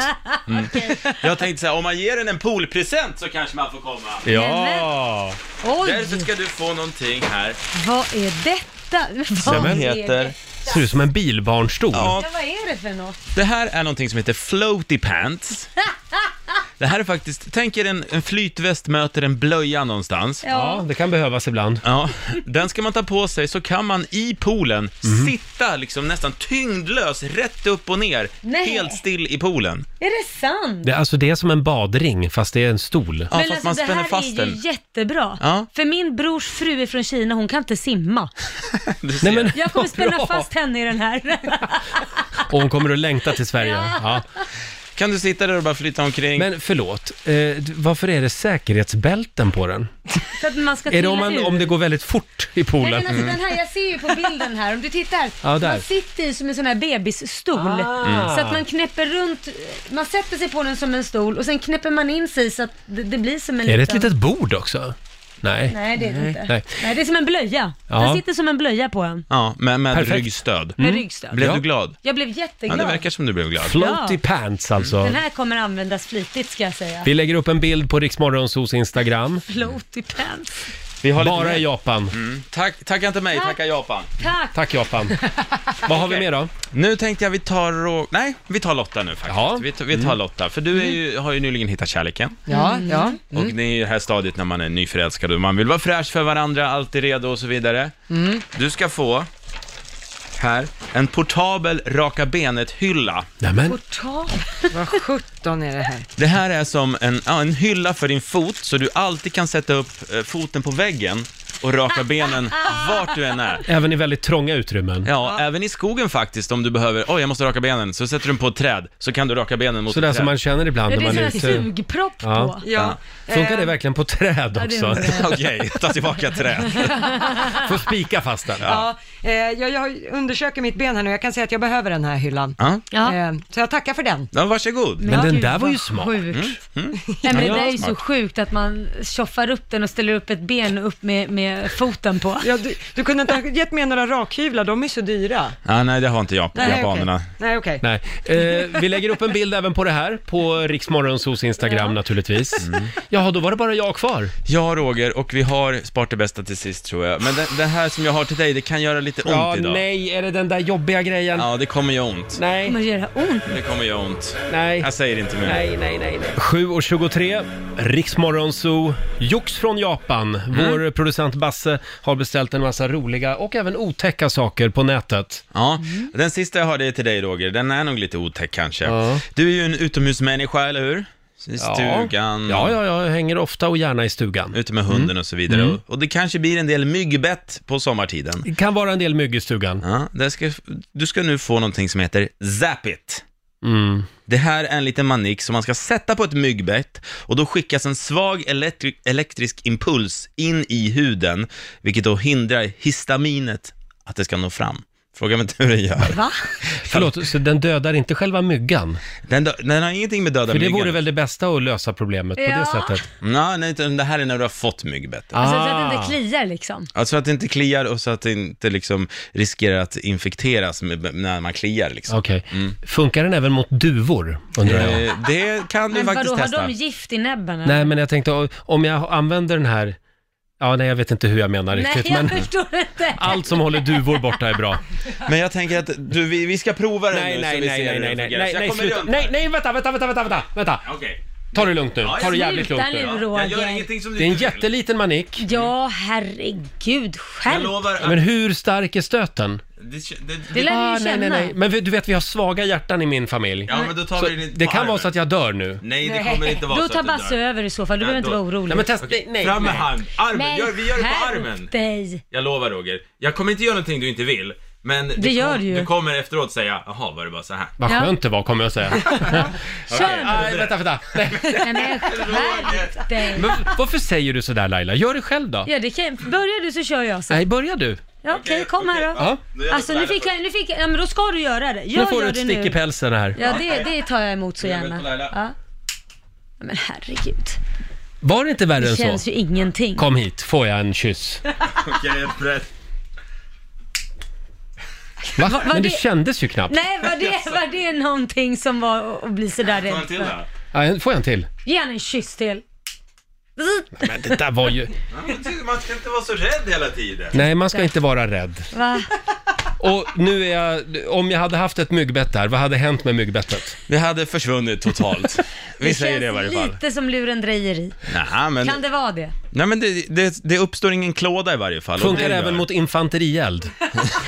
Jag tänkte så här, om man ger en en poolpresent så kanske man får komma.
Ja!
Oj,
Därför ska du få någonting här
vad är detta? Vad
som
är
heter...
det?
Ser ut som en bilbarnstol.
Ja,
Ja, vad är det för något?
det här är någonting som heter floaty pants. Det här är faktiskt, tänk er en, en flytväst möter en blöja någonstans.
Ja, det kan behövas ibland.
Ja, den ska man ta på sig så kan man i poolen
Mhm.
sitta liksom nästan tyngdlös rätt upp och ner,
Nej.
helt still i poolen.
Är det sant?
Det, är alltså, det är som en badring, fast det är en stol.
Ja,
men alltså
fast man
det
spänner
här
fast
är ju
den.
jättebra.
Ja.
För min brors fru är från Kina, hon kan inte simma.
Du ser.
Nej, men,
Jag kommer
vad
spänna
bra.
fast henne i den här.
Och hon kommer att längta till Sverige. Ja.
Kan du sitta där och bara flytta omkring?
Men förlåt, eh, d- varför är det säkerhetsbälten på den?
Så att man ska
Är det
trilla
om, man,
ur.
om det går väldigt fort i
Nej, men
poolen?
alltså, den här, jag ser ju på bilden här, om du tittar.
Ja, där.
man sitter i som en sån här bebisstol.
Ah.
Så att man knäpper runt, man sätter sig på den som en stol och sen knäpper man in sig så att det, det blir som en
Mm. Är det ett
liten...
litet bord också? Nej.
Nej, det är det inte.
Nej.
Nej. det är som en blöja.
Ja.
Den sitter som en blöja på en.
Ja, med, med
Perfekt.
ryggstöd.
Med ryggstöd.
Blev
Ja.
du glad?
Jag blev
Ja,
jätteglad.
det verkar som du blev glad. Mm.
Floaty
Ja.
pants alltså.
Den här kommer användas flitigt ska jag säga.
Vi lägger upp en bild på Riksmorgonsos Instagram.
Floaty pants.
Vi har lite
Bara
mer. Mm.
i Japan.
Tack, tacka inte mig, tacka Japan.
Tack!
Tack Japan. Vad har vi mer då?
Nu tänkte jag vi tar Ro- Nej, vi tar Lotta nu faktiskt.
Jaha.
Vi, tar- vi
Mm.
tar Lotta, för du är ju, har ju nyligen hittat kärleken.
Ja,
Mm.
Mm.
ja.
Och det är ju det här stadiet när man är nyförälskad och man vill vara fräsch för varandra, alltid redo och så vidare. Du ska få, här, en portabel raka benet-hylla.
Nämen,
Portal.
Vad sjutton är det här?
Det här är som en, ja, en hylla för din fot, så du alltid kan sätta upp eh, foten på väggen och raka benen vart du än är.
även i väldigt trånga utrymmen.
Ja, även i skogen faktiskt, om du behöver, oj jag måste raka benen, så sätter du den på ett träd, så kan du raka benen mot ett
Sådär
träd.
som man känner ibland
Ja,
när
det är
man
sån
är
här
ute.
sugpropp
Ja.
på.
Ja.
Funkar det verkligen på träd
Eh. det
också?
undrar jag.
Okej, ta tillbaka träd.
Får spika fast den.
Ja, eh, jag, jag undersöker mitt ben här nu. Jag kan säga att jag behöver den här hyllan.
Ja,
Ja.
Eh, så jag tackar för den.
ja varsågod. Mm,
Men
Ja,
den
gud,
där var ju
vad
smart.
Sjukt. Nej, men det
Ja,
där är ju så
smart.
sjukt att man tjoffar upp den och ställer upp ett ben upp med, med foten på.
Ja, du, du kunde inte ha gett mig några rakhyvlar, de är så dyra.
Ja, nej, det har inte jag, japanerna.
okej. Nej, okej.
Nej. Eh, vi lägger upp en bild även på det här på Riksmorgonsos Instagram naturligtvis. Jaha, då var det bara jag kvar.
Mm. Ja, Roger, och vi har sparat det bästa till sist tror jag. Men det, det här som jag har till dig, det kan göra lite ont
Ja,
idag.
nej, är det den där jobbiga grejen?
Ja, det kommer göra ont.
Det
Nej,
kommer göra ont.
Det kommer göra ont.
nej.
Jag säger inte mer.
7.23, Riksmorgonzoo, Jox från Japan.
Mm.
Vår producent Basse har beställt en massa roliga och även otäcka saker på nätet.
Ja,
Mm.
den sista jag har det är till dig Roger, den är nog lite otäck kanske.
Ja.
Du är ju en utomhusmänniska, eller hur? I stugan,
Ja, ja, ja, jag hänger ofta och gärna i stugan.
ute med hunden och så vidare.
Mm.
Och- Och det kanske blir en del myggbett på sommartiden.
Det kan vara en del mygg i stugan.
Ja, det ska, du ska nu få någonting som heter Zap It.
Mm.
Det här är en liten manik som man ska sätta på ett myggbett och då skickas en svag elektri- elektrisk impuls in i huden, vilket då hindrar histaminet att det ska nå fram. Fråga mig inte hur det gör.
Va?
Förlåt, så den dödar inte själva myggan?
Den, dö- den har ingenting med döda
För det
myggen.
vore väl det bästa att lösa problemet på det
Ja.
sättet? Ah.
Nej, nej, utan det här är när du har fått myggbettet.
Alltså så att det inte kliar liksom.
Ja, så att det inte kliar och så att det inte liksom riskerar att infekteras med, när man kliar liksom.
Okej. Funkar den även mot duvor, undrar jag?
Eh, Det kan du
Men
faktiskt
vadå, har
testa.
de gift i näbben? eller?
Nej, men jag tänkte o- om jag använder den här... Ja, nej, jag vet inte hur jag menar
Nej,
riktigt,
jag
men
förstår inte.
allt som håller duvor borta är bra.
Men jag tänker att du, vi, vi ska prova den nu så vi ser hur den fungerar. Så jag kommer
sluta.
runt.
Nej, nej, vänta, vänta, vänta, vänta, vänta, vänta.
Okej.
Ta det lugnt nu,
Ja,
ta det jävligt lugnt
Sluta
nu.
nu
Jag gör
Roger.
ingenting som du
Det är en
inte vill.
jätteliten manik.
Ja, herregud,
Jag
skärp
lovar att...
Men hur stark är stöten?
det, det,
Det lär du ju
nej,
känna.
nej, nej. Men vi- du vet, vi har svaga hjärtan i min familj.
ja, men då tar
Så
vi ett
det
par
kan
här
vara
nu.
så att jag dör nu.
Nej, det kommer inte vara
Då
så
tar
att du
Basse
dör.
över i så fall, du behöver
Ja,
inte
då-
vara orolig.
Nej, men testa. Nej, nej,
Fram med
nej.
hand. armen.
Men
Gör, vi gör det på
skärp
armen.
dig.
Jag lovar Roger, jag kommer inte göra någonting du inte vill. Men du,
gör du ju.
du kommer efteråt säga, jaha var det bara så här.
Vad
Ja.
skönt det var, kommer jag säga.
Kör!
Nej, vänta, vänta. Nej.
Nej, men skärp dig.
Men varför säger du sådär Laila? Gör det själv då.
Ja, det kan, börjar du så kör jag sen.
Nej, börja du.
Ja, okej,
Okej,
kom
okej.
här då.
Ja.
Nu är jag
Alltså nu
lärd
fick
på-
jag, nu fick jag, ja men då ska du göra det.
Nu
Jag
får du
gör
ett
det
stick i
nu.
pälsen här.
Ja, det, det tar jag emot så
Jag är med på
gärna.
Laila.
Ja. Ja, Men herregud,
Var det inte värre
det
än
känns
så?
ju ingenting.
Kom hit, får jag en kyss?
Okej, jag är beredd.
Va?
var
Men det
det-
kändes ju knappt.
Nej, var det, var det någonting som var att bli sådär
Ta en
rädd
till
för?
då.
Ja, en- får jag en till?
Ge han en kyss till.
Men det där var ju...
Ja, men ty- Man ska inte vara så rädd hela tiden.
Nej, man ska inte vara rädd.
Va?
Och nu är jag... Om jag hade haft ett myggbett där, vad hade hänt med myggbettet?
Det hade försvunnit totalt. Vi säger det i varje fall.
lite som lurendrejeri.
Nej, men,
Kan det vara det?
nej, men det, det, det uppstår ingen klåda i varje fall. och
Funkar
det gör-
även mot infanterield.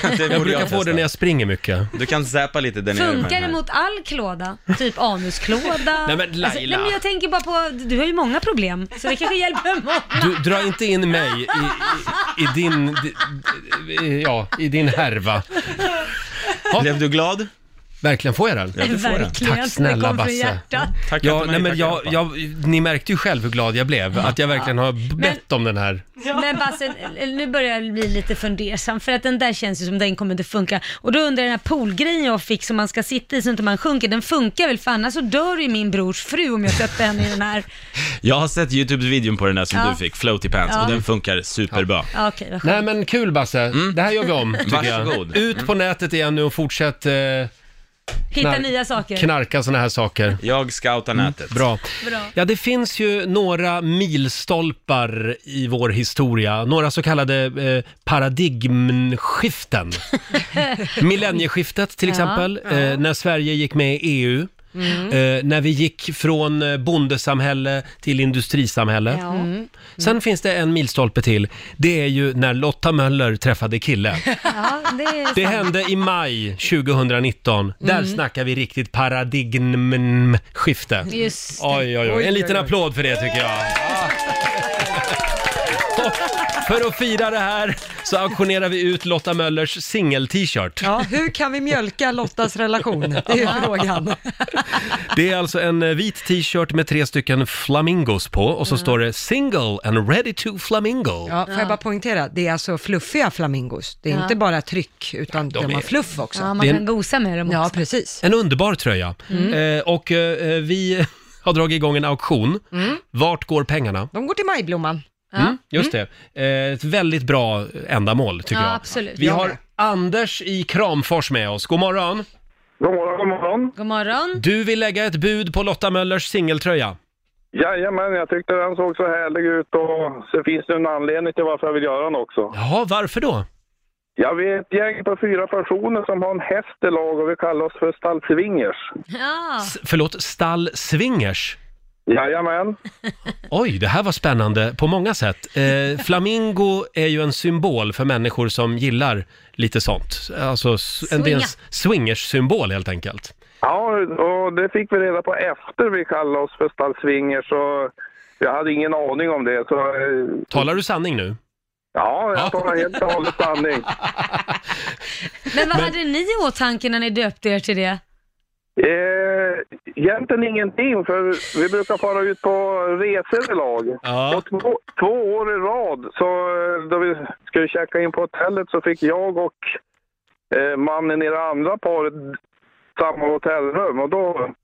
det borde
Jag brukar få
testa.
det när jag springer mycket.
Du kan zappa lite där nere. med den
Funkar det
här.
mot all klåda? Typ anusklåda?
Nej, men Laila.
Alltså, nej, men jag tänker bara på, du har ju många problem, så det kanske hjälper många.
Du, dra inte in mig i, i, i din... Di, i- ja, i din härva.
Blev du glad?
Verkligen, får jag den?
du får den.
Verkligen.
Tack snälla,
det kom
Basse.
från hjärtat.
Tack
Ja,
att du
nej, men
tackar,
jag,
pappa.
jag, ni märkte ju själv hur glad jag blev, att jag verkligen har b- bett om den här.
Men Basse, nu börjar jag bli lite fundersam för att den där känns ju som den kommer inte funka. Och då undrar jag, den här poolgrejen jag fick som man ska sitta i så inte man sjunker, den funkar väl för annars så dör ju min brors fru om jag sätter henne i den här.
Jag har sett YouTube-videon på den där som
Ja.
du fick, Floaty Pants, och den funkar superbra. Mm.
Ja, okej, vad skönt.
Nej men kul Basse, det här gör vi om tycker jag.
Varsågod. Mm.
Ut på nätet igen nu och fortsätt eh,
Hitta
knark-
nya saker.
knarka såna här saker. Mm,
Jag scoutar nätet.
Bra.
Bra.
Ja, det finns ju några milstolpar i vår historia, några så kallade eh, paradigmskiften. Millennieskiftet till
Ja. Mm.
exempel, eh, när Sverige gick med i EU. Eh, när vi gick från eh, bondesamhälle till industrisamhälle.
Ja.
Mm. Sen finns det en milstolpe till. Det är ju när Lotta Möller träffade kille.
ja, det är
Det hände i maj 2019. Där snackar vi riktigt paradigmskifte.
just det.
Oj, oj, oj. En liten applåd för det tycker jag. Och För att fira det här så auktionerar vi ut Lotta Möllers singel-t-shirt.
Ja, hur kan vi mjölka Lottas relation? Det är ju frågan.
Det är alltså en eh, vit t-shirt med tre stycken flamingos på och så står det “single and ready to flamingo”.
Ja, får jag bara poängtera, det är alltså fluffiga flamingos. Det är inte bara tryck, utan de, har fluff också.
Ja,
Ja,
man
Det är
kan gosa med dem också.
precis.
En underbar tröja.
Mm.
Eh, och eh, vi har dragit igång en auktion.
Mm.
Vart går pengarna?
De går till majblomman.
Mm, just det. Eh, ett väldigt bra ändamål tycker
Ja,
jag.
absolut.
Vi
Jag
har
med.
Anders i Kramfors med oss. God morgon.
God morgon, god morgon.
God morgon.
Du vill lägga ett bud på Lotta Möllers singeltröja.
Jajamän, jag tyckte den såg så härlig ut och så finns det en anledning till varför jag vill göra den också.
Jaha, varför då?
Jag vet ett gäng på fyra personer som har en häst i lag och vi kallar oss för stallsvingers.
Ja.
S- förlåt, Stall Swingers.
Jajamän.
Oj, det här var spännande på många sätt. Eh, flamingo är ju en symbol för människor som gillar lite sånt. Alltså, s- en
Swinga.
del s- swingers-symbol helt enkelt.
Ja, och det fick vi reda på efter vi kallade oss för stallsvingers så jag hade ingen aning om det. Så eh,
Talar du sanning nu?
ja,
Ja.
jag talar helt och hållet sanning.
Men vad hade ni i åtanke när ni döpte er till det?
Eh, egentligen ingenting, för vi brukar fara ut på resor i lag.
Ja.
Och två, två år i rad, så eh, då vi skulle checka in på hotellet så fick jag och eh, mannen i det andra paret samma hotellrum. Och då kom,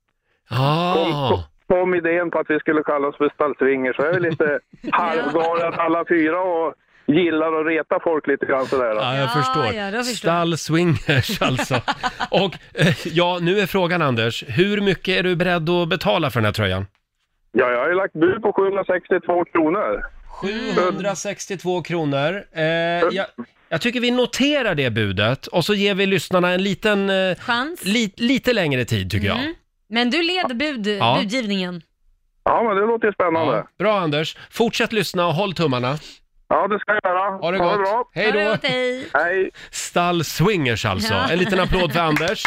Ah.
kom idén på att vi skulle kalla oss för Stallsvinger, så jag är lite halvgalen alla fyra och gillar att reta folk lite grann sådär. Då.
Ja, jag
Ja,
förstår.
ja, då förstår jag.
Stall swingers alltså. Och eh, ja, nu är frågan Anders, hur mycket är du beredd att betala för den här tröjan?
Ja, jag har ju lagt bud på 762 kronor.
762 kronor. Eh, jag, jag tycker vi noterar det budet och så ger vi lyssnarna en liten, eh,
Chans. Mm.
li, lite längre tid tycker
Mm.
jag.
Men du leder bud,
Ja.
budgivningen.
Ja, men det låter ju spännande.
Ja, bra Anders, fortsätt lyssna och håll tummarna.
Ja, det ska jag göra.
Ha det
Ha det bra.
gott. Hej
Hör du
då!
åt dig?
Hej.
Stall swingers alltså.
Ja.
En liten applåd för Anders.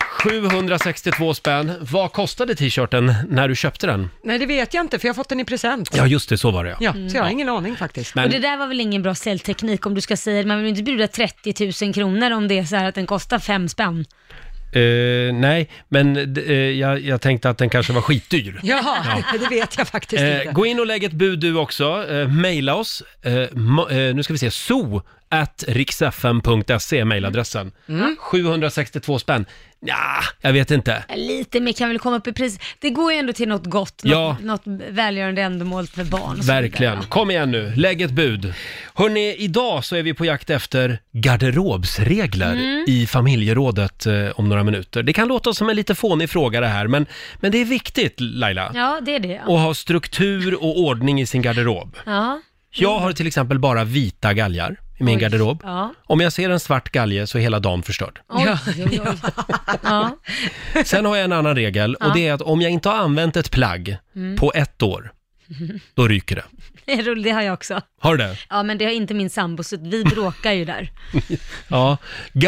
762 spänn. Vad kostade t-shirten när du köpte den?
Nej, det vet jag inte, för jag har fått den i present.
Ja, just det, så var det ja.
Ja, så jag har ingen aning faktiskt.
Mm. Och
Men
det där var väl ingen bra säljteknik om du ska säga det. Man vill ju inte bjuda 30 000 kronor om det är så här att den kostar fem spänn.
Eh, nej, men d- eh, jag, jag tänkte att den kanske var skitdyr.
Jaha, det vet jag faktiskt
Eh,
inte.
gå in och lägg ett bud du också. Eh, maila oss. Eh, ma- eh, nu ska vi se, so at riksfm.se mailadressen.
Mm.
762 spänn. Ja, jag vet inte.
Lite mer kan väl komma upp i pris. Det går ju ändå till något gott, något,
Ja.
något välgörande ändamål för barn. och så
Verkligen.
vidare.
Kom igen nu, lägg ett bud. Hörni, idag så är vi på jakt efter garderobsregler
Mm.
i familjerådet eh, om några minuter. Det kan låta som en lite fånig fråga det här, men, men det är viktigt Laila.
Ja, det är det.
Att ha struktur och ordning i sin garderob.
Ja.
Jag har till exempel bara vita galgar i min
Mm. Oj.
garderob.
Ja.
Om jag ser en svart galge så är hela dagen förstörd.
Oj, oj, oj. Ja.
Sen har jag en annan regel och det är att om jag inte har använt ett plagg
Mm.
på ett år, då ryker det.
Det är roligt, det har jag också.
Har du det?
Ja, men det har inte min sambo, så vi bråkar ju där.
Ja,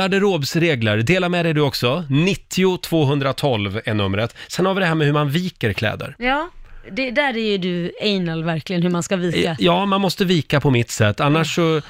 garderobsregler. Dela med dig du också. 90 212 är numret. Sen har vi det här med hur man viker kläder.
Ja, det, där är ju du anal verkligen, hur man ska vika.
Eh, Ja, man måste vika på mitt sätt. Annars så...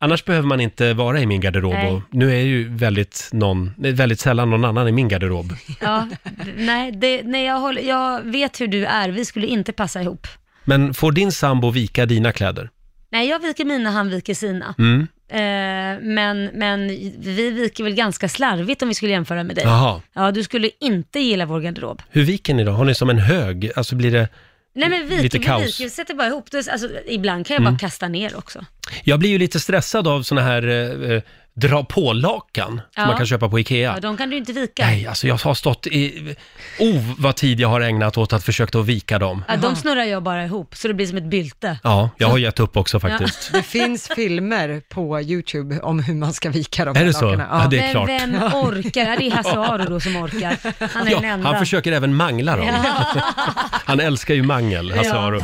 Annars behöver man inte vara i min garderob
Nej.
och nu är ju väldigt, någon, det är väldigt sällan någon annan i min garderob.
Ja, nej, det, nej jag, håller, jag vet hur du är, vi skulle inte passa ihop.
Men får din sambo vika dina kläder?
Nej, jag viker mina, han viker sina.
Mm.
Eh, men, men vi viker väl ganska slarvigt om vi skulle jämföra med dig.
Jaha.
Ja, du skulle inte gilla vår garderob.
Hur viker ni då? Har ni som en hög? Alltså blir det...
Nej men viker,
Lite
vi
kaos. Mm.
viker, vi sätter bara ihop det. Alltså, ibland kan jag bara kasta ner också.
Jag blir ju lite stressad av såna här eh, eh, dra på-lakan
Ja.
som man kan köpa på Ikea.
Ja, de kan du inte vika.
Nej, alltså jag har stått i... Oh, vad tid jag har ägnat åt att försöka att vika dem.
Ja, de snurrar jag bara ihop, så det blir som ett bylte.
Ja, jag har gett upp också faktiskt.
Det finns filmer på YouTube om hur man ska vika de här
Är det så?
lakarna.
Ja, det är
men
klart.
vem orkar? Ja, det är Hasse Aro då som orkar. Han är
Ja,
den enda.
han försöker även mangla dem.
Ja.
Han älskar ju mangel, Hasse
Ja.
Aro.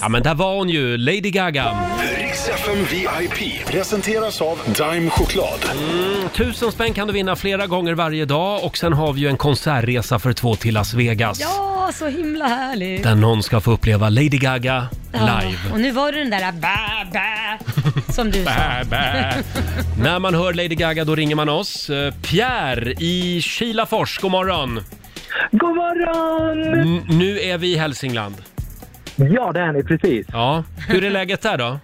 Ja, men där var hon ju, Lady Gaga.
Riks FM VIP presenteras av Dime Choklad.
Tusen spänn kan du vinna flera gånger varje dag och sen har vi ju en konsertresa för två till Las Vegas.
Ja, så himla härligt.
Där någon ska få uppleva Lady Gaga live.
Ja, och nu var du den där ba, ba, som du sa.
När man hör Lady Gaga då ringer man oss. Eh, Pierre i Kilafors, god morgon.
God morgon!
N- nu är vi i Hälsingland.
Ja, det är ni precis.
Ja, hur är läget där då?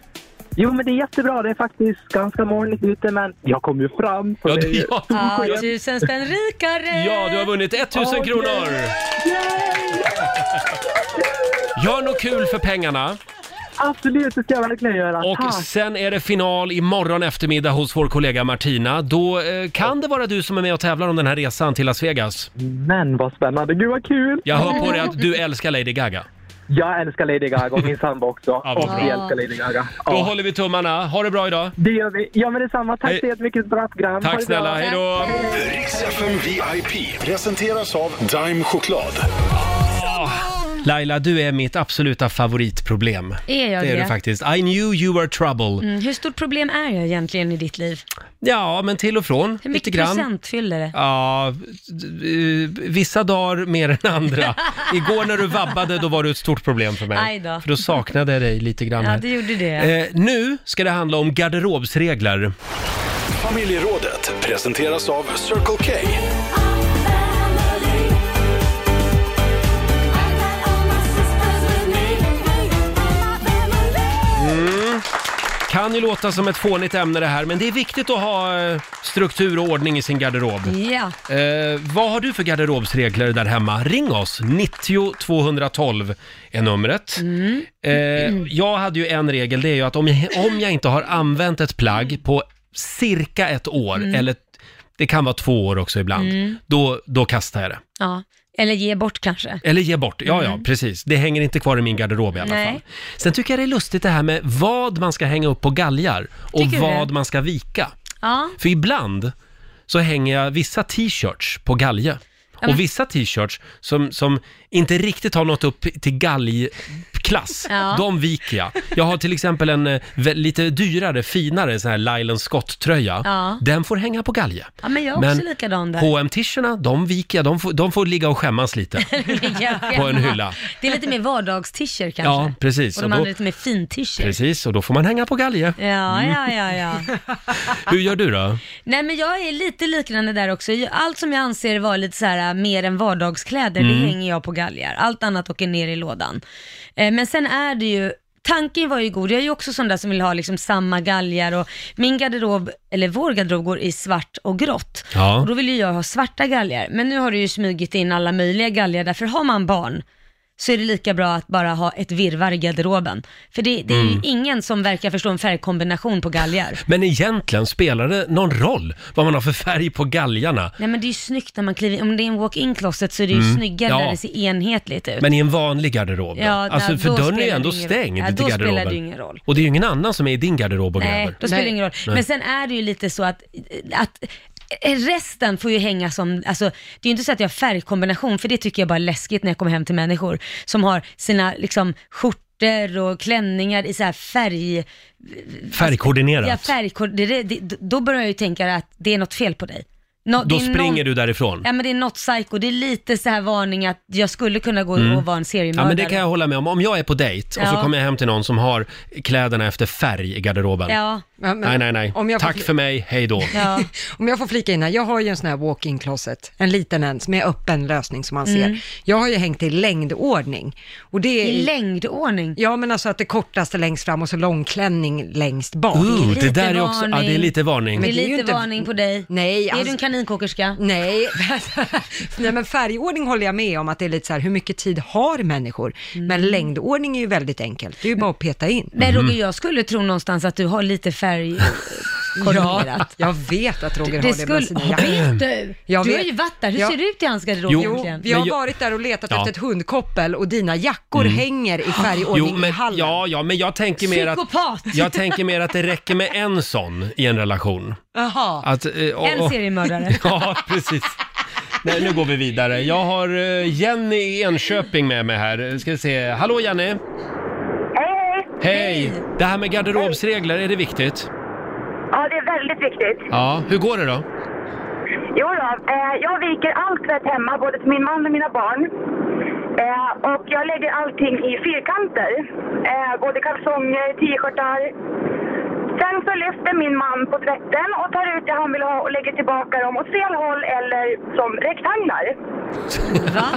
Jo, men det är jättebra. Det är faktiskt ganska molnigt ute, men jag kom ju fram. Så
Ja,
det är
du,
ju...
ja,
Ja, tusen spänn rikare.
ja, du har vunnit 1000 kronor! Gör något kul för pengarna.
Absolut, det ska jag verkligen göra.
Ah.
Och
Tack.
sen är det final imorgon eftermiddag hos vår kollega Martina. Då eh, kan det vara du som är med och tävlar om den här resan till Las Vegas.
Men vad spännande. Gud, vad kul!
Jag hör på dig att du älskar Lady Gaga.
Jag älskar Lady Gaga och min sambo också.
Ja, vad
och
bra.
vi älskar Lady Gaga.
Då
Ja,
håller vi tummarna. Ha det bra idag.
det gör vi. Ja, men detsamma. Tack
Hej.
så jättemycket för ett bra program. Ha
Tack
det bra.
snälla, hej då!
Riks FM VIP presenteras av Dime Choklad.
Laila, du är mitt absoluta favoritproblem.
Är jag
Det är du faktiskt. I knew you were trouble.
Mm, Hur stort problem är jag egentligen i ditt liv?
Ja, men till och från.
Hur
lite
mycket
grann.
procent fyller det?
Ja, eh, vissa dagar mer än andra. Igår när du vabbade, då var du ett stort problem för mig.
Aj då.
För då saknade jag dig lite grann.
Ja,
här.
det gjorde det.
Eh, nu ska det handla om garderobsregler.
Familjerådet presenteras av Circle K.
Kan ju låta som ett fånigt ämne det här, men det är viktigt att ha eh, struktur och ordning i sin garderob.
Ja.
Eh, vad har du för garderobsregler där hemma? Ring oss! 90 212 är numret.
Mm.
Eh, jag hade ju en regel, det är ju att om jag, om jag inte har använt ett plagg på cirka ett år,
Mm.
eller det kan vara två år också ibland, då, då kastar jag det.
ja. Eller ge bort kanske.
Eller ge bort, ja ja, precis. Det hänger inte kvar i min garderob i alla
Mm. Nej.
fall. Sen tycker jag det är lustigt det här med vad man ska hänga upp på galgar och
Tycker du
vad
det?
man ska vika.
Ja.
För ibland så hänger jag vissa t-shirts på galge.
men-
Och vissa t-shirts som, som inte riktigt har nått upp till galgklass,
Ja.
de viker jag. Jag har till exempel en eh, vä- lite dyrare, finare sån här Lylan Scott-tröja.
Ja.
Den får hänga på galge.
ja, men jag är också likadan där.
hm t-shirtarna, de viker jag. De får, de får ligga och skämmas lite.
på
på en hylla.
Det är lite mer vardags-t-shirt kanske.
Ja, precis.
Och
Och
de
då-
andra är lite mer fin-t-shirt.
Precis, och då får man hänga på galge.
Ja, ja, ja, ja.
Hur gör du då?
Nej men jag är lite liknande där också. Allt som jag anser vara lite så här äh, mer än vardagskläder, det hänger jag på galgar. Allt annat åker ner i lådan. Eh, men sen är det ju, tanken var ju god. Jag är ju också sån där som vill ha liksom samma galgar och min garderob, eller vår garderob går i svart och grått.
Ja.
Och då vill ju jag ha svarta galgar. Men nu har det ju smugit in alla möjliga galgar, därför har man barn så är det lika bra att bara ha ett virrvarr i garderoben. För det, det är ju ingen som verkar förstå en färgkombination på galgar.
Men egentligen, spelar det någon roll vad man har för färg på galgarna?
Nej men det är ju snyggt när man kliver in. Om det är en walk-in closet så är det ju snyggare
Mm. Ja.
när det ser enhetligt ut.
Men i en vanlig garderob då?
Ja,
Alltså,
där-
för
då
dörren är ju
spelar
ändå
det ingen-
stängd
Ja,
till
då spelar
garderoben.
det ju ingen roll.
Och det är ju ingen annan som är i din garderob och
Nej,
gräver.
då spelar det
Nej.
ingen roll. Men sen är det ju lite så att, att Resten får ju hänga som, alltså det är ju inte så att jag har färgkombination för det tycker jag bara är läskigt när jag kommer hem till människor som har sina liksom skjortor och klänningar i så här färg...
Färgkoordinerat.
Ja, färgkod, det, det, det, då börjar jag ju tänka att det är något fel på dig. Nå,
Då
det är någon-
springer du därifrån.
Ja men det är något psycho, det är lite så här varning att jag skulle kunna gå och vara en
Mm. Ja,
seriemördare.
men det kan jag hålla med om. Om jag är på dejt och så
Ja.
kommer jag hem till någon som har kläderna efter färg i garderoben.
Ja,
Men-
Nej, nej, nej.
Om jag
Tack
får,
för mig, hej då.
ja.
Om jag får flika in här, jag har ju en sån här walk-in closet, en liten ens med öppen lösning som man ser. Jag har ju hängt i längdordning. Och det är
Mm. I längdordning.
Ja, men alltså att det kortaste längst fram och så långklänning längst bak.
Ooh,
lite
det där är också, ja, det är
varning.
lite varning.
Det är
Men det är ju
lite
inte-
varning på dig.
Nej,
är du
alltså-
en kaninkockerska?
Nej. Nej, men färgordning håller jag med om att det är lite så här, hur mycket tid har människor? Men längdordning är ju väldigt enkelt, det är ju bara att peta in.
Mm. Men
Mm.
Roger, jag skulle tro någonstans att du har lite färg koordinerat.
Jag vet att Roger
Det
har det med
skulle...
sina
Ja,
jackor.
vet du?
Jag
du har
vet.
ju varit där. Hur
Ja.
ser det ut i hans garderob
Jo.
egentligen?
Vi har
Men jag-
varit där och letat
Ja. Mm.
efter ett hundkoppel och dina jackor hänger i färgordning
Jo, men,
i hallen.
ja, ja, men jag tänker mer att...
Psykopat!
Jag tänker mer att det räcker med en sån i en relation.
Jaha.
Att, eh, och-
En
och-
seriemördare.
Ja, precis. Nej, nu går vi vidare. Jag har eh, Jenny i Enköping med mig här. Ska vi se. Hallå Jenny!
Hej!
Hej! Det här med garderobsregler, är det viktigt?
Ja, det är väldigt viktigt.
Ja, hur går det då?
Jo då, eh, jag viker allt tvätt hemma, både till min man och mina barn. Eh, och jag lägger allting i fyrkanter. Eh, både kalsonger, t-shirtar. Sen så lyfter min man på tvätten och tar ut det han vill ha och lägger tillbaka dem åt fel håll eller som rektanglar.
Va?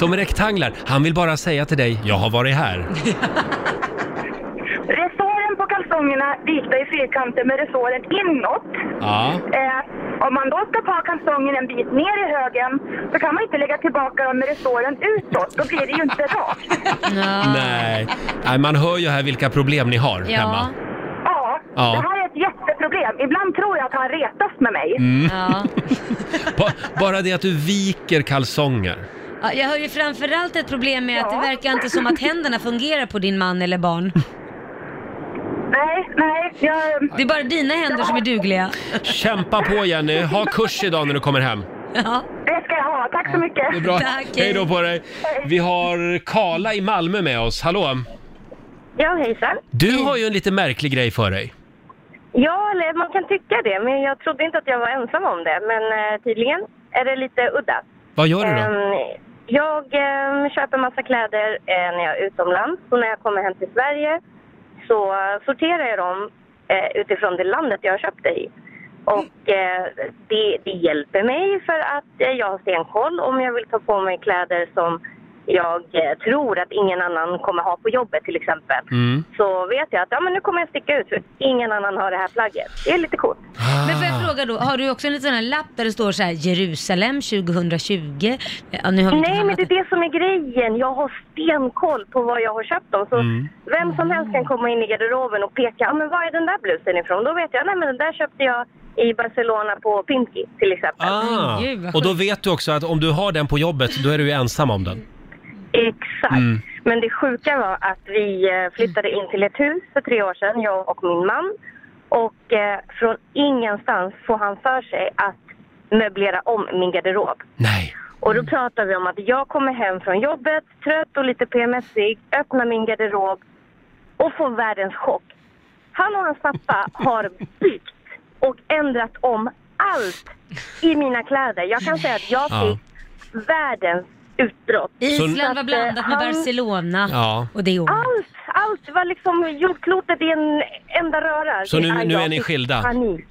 Som rektanglar. Han vill bara säga till dig, jag har varit här.
Resåren på kalsongerna vikta i fyrkanter med resåren inåt.
Ja.
Eh, om man då ska ta kalsongen en bit ner i högen så kan man inte lägga tillbaka dem med resåren utåt. Då blir det ju inte rakt.
Nej. Nej, man hör ju här vilka problem ni har
Ja.
hemma.
Ja,
Ja.
det här är ett jätteproblem. Ibland tror jag att han retas med mig.
Mm.
ja.
Ba- Bara det att du viker kalsonger.
ja. Jag har ju framförallt ett problem med att det
Ja.
verkar inte som att händerna fungerar på din man eller barn.
Nej, nej, jag...
Det är bara dina händer som är dugliga.
Kämpa på Jenny, ha kurs idag när du kommer hem.
Ja.
det ska jag ha. Tack så mycket.
Det är bra.
Tack, hej.
Hej då på dig. Vi har Karla i Malmö med oss. Hallå!
Ja, hejsan.
Du har ju en lite märklig grej för dig.
Ja, eller man kan tycka det, men jag trodde inte att jag var ensam om det. Men eh, tydligen är det lite udda.
Vad gör du då?
Ehm, jag ehm, köper massa kläder eh, när jag är utomlands och när jag kommer hem till Sverige så eh, sorterar jag dem eh, utifrån det landet jag har köpt det i.
Och eh, det, det hjälper mig för att eh, jag har stenkoll om jag vill ta på mig kläder som jag eh, tror att ingen annan kommer ha på jobbet till exempel.
Mm.
Så vet jag att ja, men nu kommer jag sticka ut för ingen annan har det här plagget. Det är lite coolt.
Men får jag fråga då, har du också en liten sån här lapp där det står så här Jerusalem 2020? Ja, nu har vi inte
Nej, men
hamnat
det är det som är grejen. Jag har stenkoll på vad jag har köpt dem. Så
Mm.
vem som helst kan komma in i garderoben och peka, ah, men var är den där blusen ifrån? Då vet jag, nej men den där köpte jag i Barcelona på Pinky till exempel.
Ah, och då vet du också att om du har den på jobbet, då är du ju ensam om den.
Exakt.
Mm.
Men det sjuka var att vi eh, flyttade in till ett hus för tre år sedan, jag och min man. Och eh, från ingenstans får han för sig att möblera om min garderob.
Nej.
Och då pratar vi om att jag kommer hem från jobbet, trött och lite PMSig, öppnar min garderob och får världens chock. Han och hans pappa har byggt och ändrat om allt i mina kläder. Jag kan säga att jag
Ja.
fick världens utbrott. Så
Island
att,
var
eh,
blandat med
han-
Barcelona
Ja.
och det är ord.
Allt, allt var liksom jordklotet i en enda röra.
Så nu-
Ja,
nu
jag
är ni
fick
skilda?
Panik.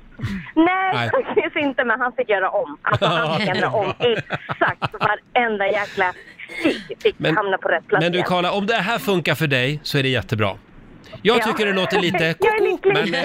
Nej,
Nej.
faktiskt inte, men han fick göra om. Alltså, han fick ändra om exakt varenda jäkla stick fick
Men-
hamna på rätt plats
Men du
igen.
Karla, om det här funkar för dig så är det jättebra. Jag
Ja.
tycker det låter lite
Jag är
koko,
lycklig.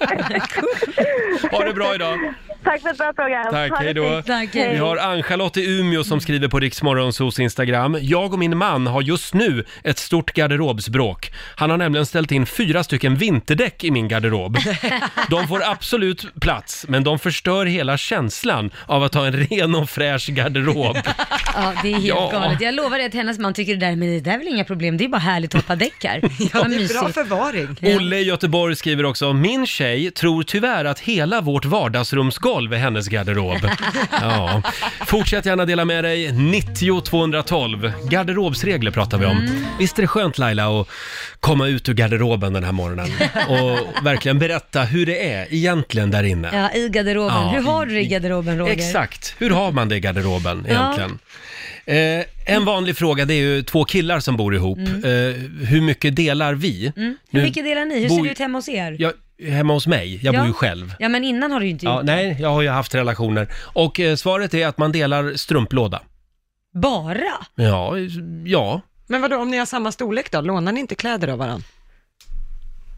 men ha det bra idag.
Tack för ett bra program.
Tack,
Ha det
hej då.
fint.
Vi
Hej.
har Ann-Charlotte i Umeå som skriver på Riksmorgonsos Instagram. Jag och min man har just nu ett stort garderobsbråk. Han har nämligen ställt in fyra stycken vinterdäck i min garderob. De får absolut plats, men de förstör hela känslan av att ha en ren och fräsch garderob.
Ja, det är helt
Ja.
galet. Jag lovar dig att hennes man tycker det där, men det där är väl inga problem, det är bara härligt att hoppa däck här. Vad mysigt.
förvaring.
Olle i Göteborg skriver också, min tjej tror tyvärr att hela vårt vardagsrumsgolv är hennes garderob. Ja. Fortsätt gärna dela med dig, 90 212. Garderobsregler pratar vi om.
Mm.
Visst är det skönt Laila att komma ut ur garderoben den här morgonen och verkligen berätta hur det är egentligen där inne.
Ja, i garderoben.
Ja,
Hur har du det i garderoben, Roger?
Exakt, hur har man det i garderoben
Ja.
egentligen? Eh, en vanlig fråga, det är ju två killar som bor ihop. Eh, hur mycket delar vi?
Mm. Hur
Nu
mycket delar ni? Hur
bor
ser
ju-
det ut hemma hos er?
jag, hemma hos mig, jag bor
Ja.
ju själv.
Ja, men innan har du ju inte
Ja,
gjort
nej, jag har ju haft relationer. Och eh, svaret är att man delar strumplåda.
Bara?
Ja, eh, ja,
Men vadå, om ni har samma storlek då, lånar ni inte kläder av varandra?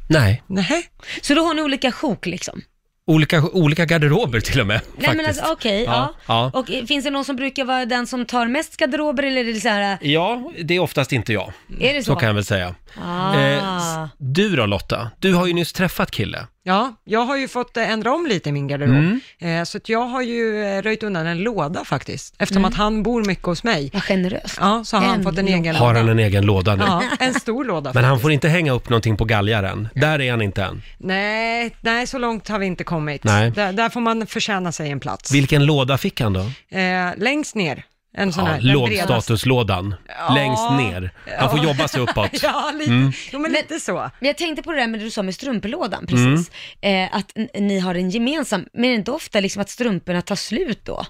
nej.
Nej.
Så då har ni olika sjok liksom?
Olika, olika garderober till och med.
Nej men
faktiskt.
alltså okej, ja.
Ja, ja.
Och eh, finns det någon som brukar vara den som tar mest garderober eller är det så här,
ja, det är oftast inte jag.
är det så?
Så kan jag väl säga.
ah.
Eh, s- du då Lotta? Du har ju nyss träffat kille.
Ja, jag har ju fått eh, ändra om lite i min garderob.
Mm.
Eh, Så att jag har ju eh, röjt undan en låda faktiskt, eftersom
Mm.
att han bor mycket hos mig.
Vad generöst.
Ja, så har han
En
fått en
låda.
egen
Har
låda.
han en egen låda nu?
Ja, en stor låda.
Men han
faktiskt.
får inte hänga upp någonting på galgaren. Där är han inte än.
Nej, nej, så långt har vi inte kommit.
Nej.
Där, där får man förtjäna sig en plats.
Vilken låda fick han då?
Eh, längst ner, en sån
Ja,
här. den bredaste.
lågstatuslådan.
Ja.
Längst ner. Han får
Ja.
jobba sig uppåt. Mm.
Ja, lite, jo, men lite så.
Men jag tänkte på det där med det du sa med strumpelådan precis,
Mm.
eh, att n- ni har en gemensam, men är det inte ofta liksom att strumporna tar slut då?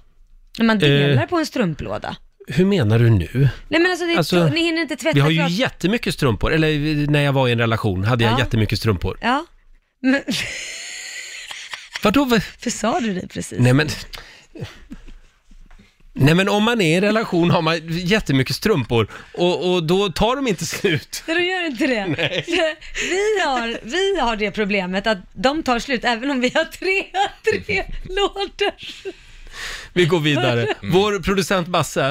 När man delar
Eh.
på en strumplåda?
Hur menar du nu?
Nej men alltså, det,
Alltså,
ni hinner inte tvätta
Vi har ju
klart.
jättemycket strumpor, eller när jag var i en relation hade jag
Ja.
jättemycket strumpor.
Ja. Men,
Vadå? vad-
för sa du det precis?
Nej men... Nej men om man är i en relation har man jättemycket strumpor och, och då tar de inte slut.
Nej, de gör inte det. Vi har, vi har det problemet att de tar slut även om vi har tre, tre lådor.
Vi går vidare. Vår producent Basse,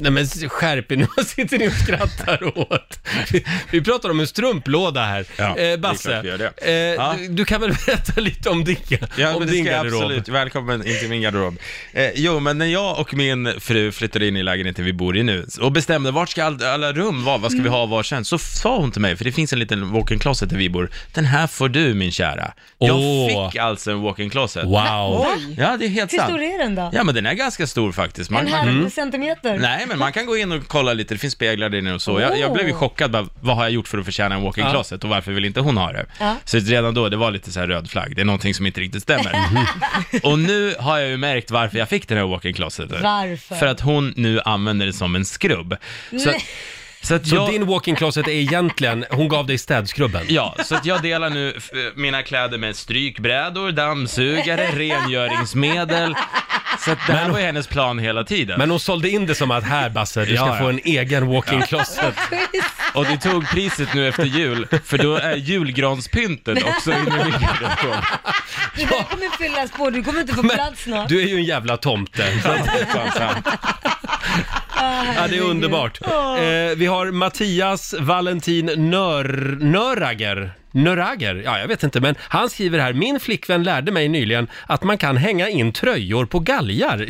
Mm. Ja,
nej men skärp er nu, vad sitter ni och skrattar åt? Vi, vi pratar om en strumplåda här.
Ja, det
eh,
är
Basse,
klart vi gör det.
eh,
Ja.
du, du kan väl berätta lite om din,
Ja,
om
men det
din
ska jag
garderob?
absolut. Välkommen in till min garderob. Eh, jo, men när jag och min fru flyttade in i lägenheten vi bor i nu och bestämde vart ska all, alla rum vara, vad ska vi
Mm.
ha var sen, så sa hon till mig, för det finns en liten walk-in closet där vi bor, den här får du min kära.
Åh.
Jag fick alltså en walk-in closet.
Wow!
Ja, det är helt
Hur
sant.
stor är den då?
Ja, men den är ganska stor faktiskt. Man,
en halv
man,
mm.
centimeter?
Nej, men man kan gå in och kolla lite, det finns speglar där inne och så. Jag, jag
Oh.
blev ju chockad, bara, vad har jag gjort för att förtjäna en walk-in
Ja.
closet och varför vill inte hon ha det?
Ja.
Så redan då, det var lite så här röd flagg, det är någonting som inte riktigt stämmer. och nu har jag ju märkt varför jag fick den här walk-in closeten.
Varför?
För att hon nu använder det som en skrubb. Så att,
Så,
att jag-
din walk-in closet är egentligen, hon gav dig städskrubben?
Ja, så att jag delar nu f- mina kläder med strykbrädor, dammsugare, rengöringsmedel. Så att det här var ju hennes plan hela tiden.
Men hon sålde in det som att här Basse, du ska
Ja, ja.
få en egen walk-in
Ja.
closet.
Och det tog priset nu efter jul, för då är julgranspyntet också inne i bilden.
Det där kommer fyllas på, du kommer inte få plats snart.
Du är ju en jävla tomte. Så att- Ja, det är underbart. Eh, vi har Mattias Valentin Nör, Nörager. Nörager? Ja, jag vet inte, men han skriver här, min flickvän lärde mig nyligen att man kan hänga in tröjor på galgar.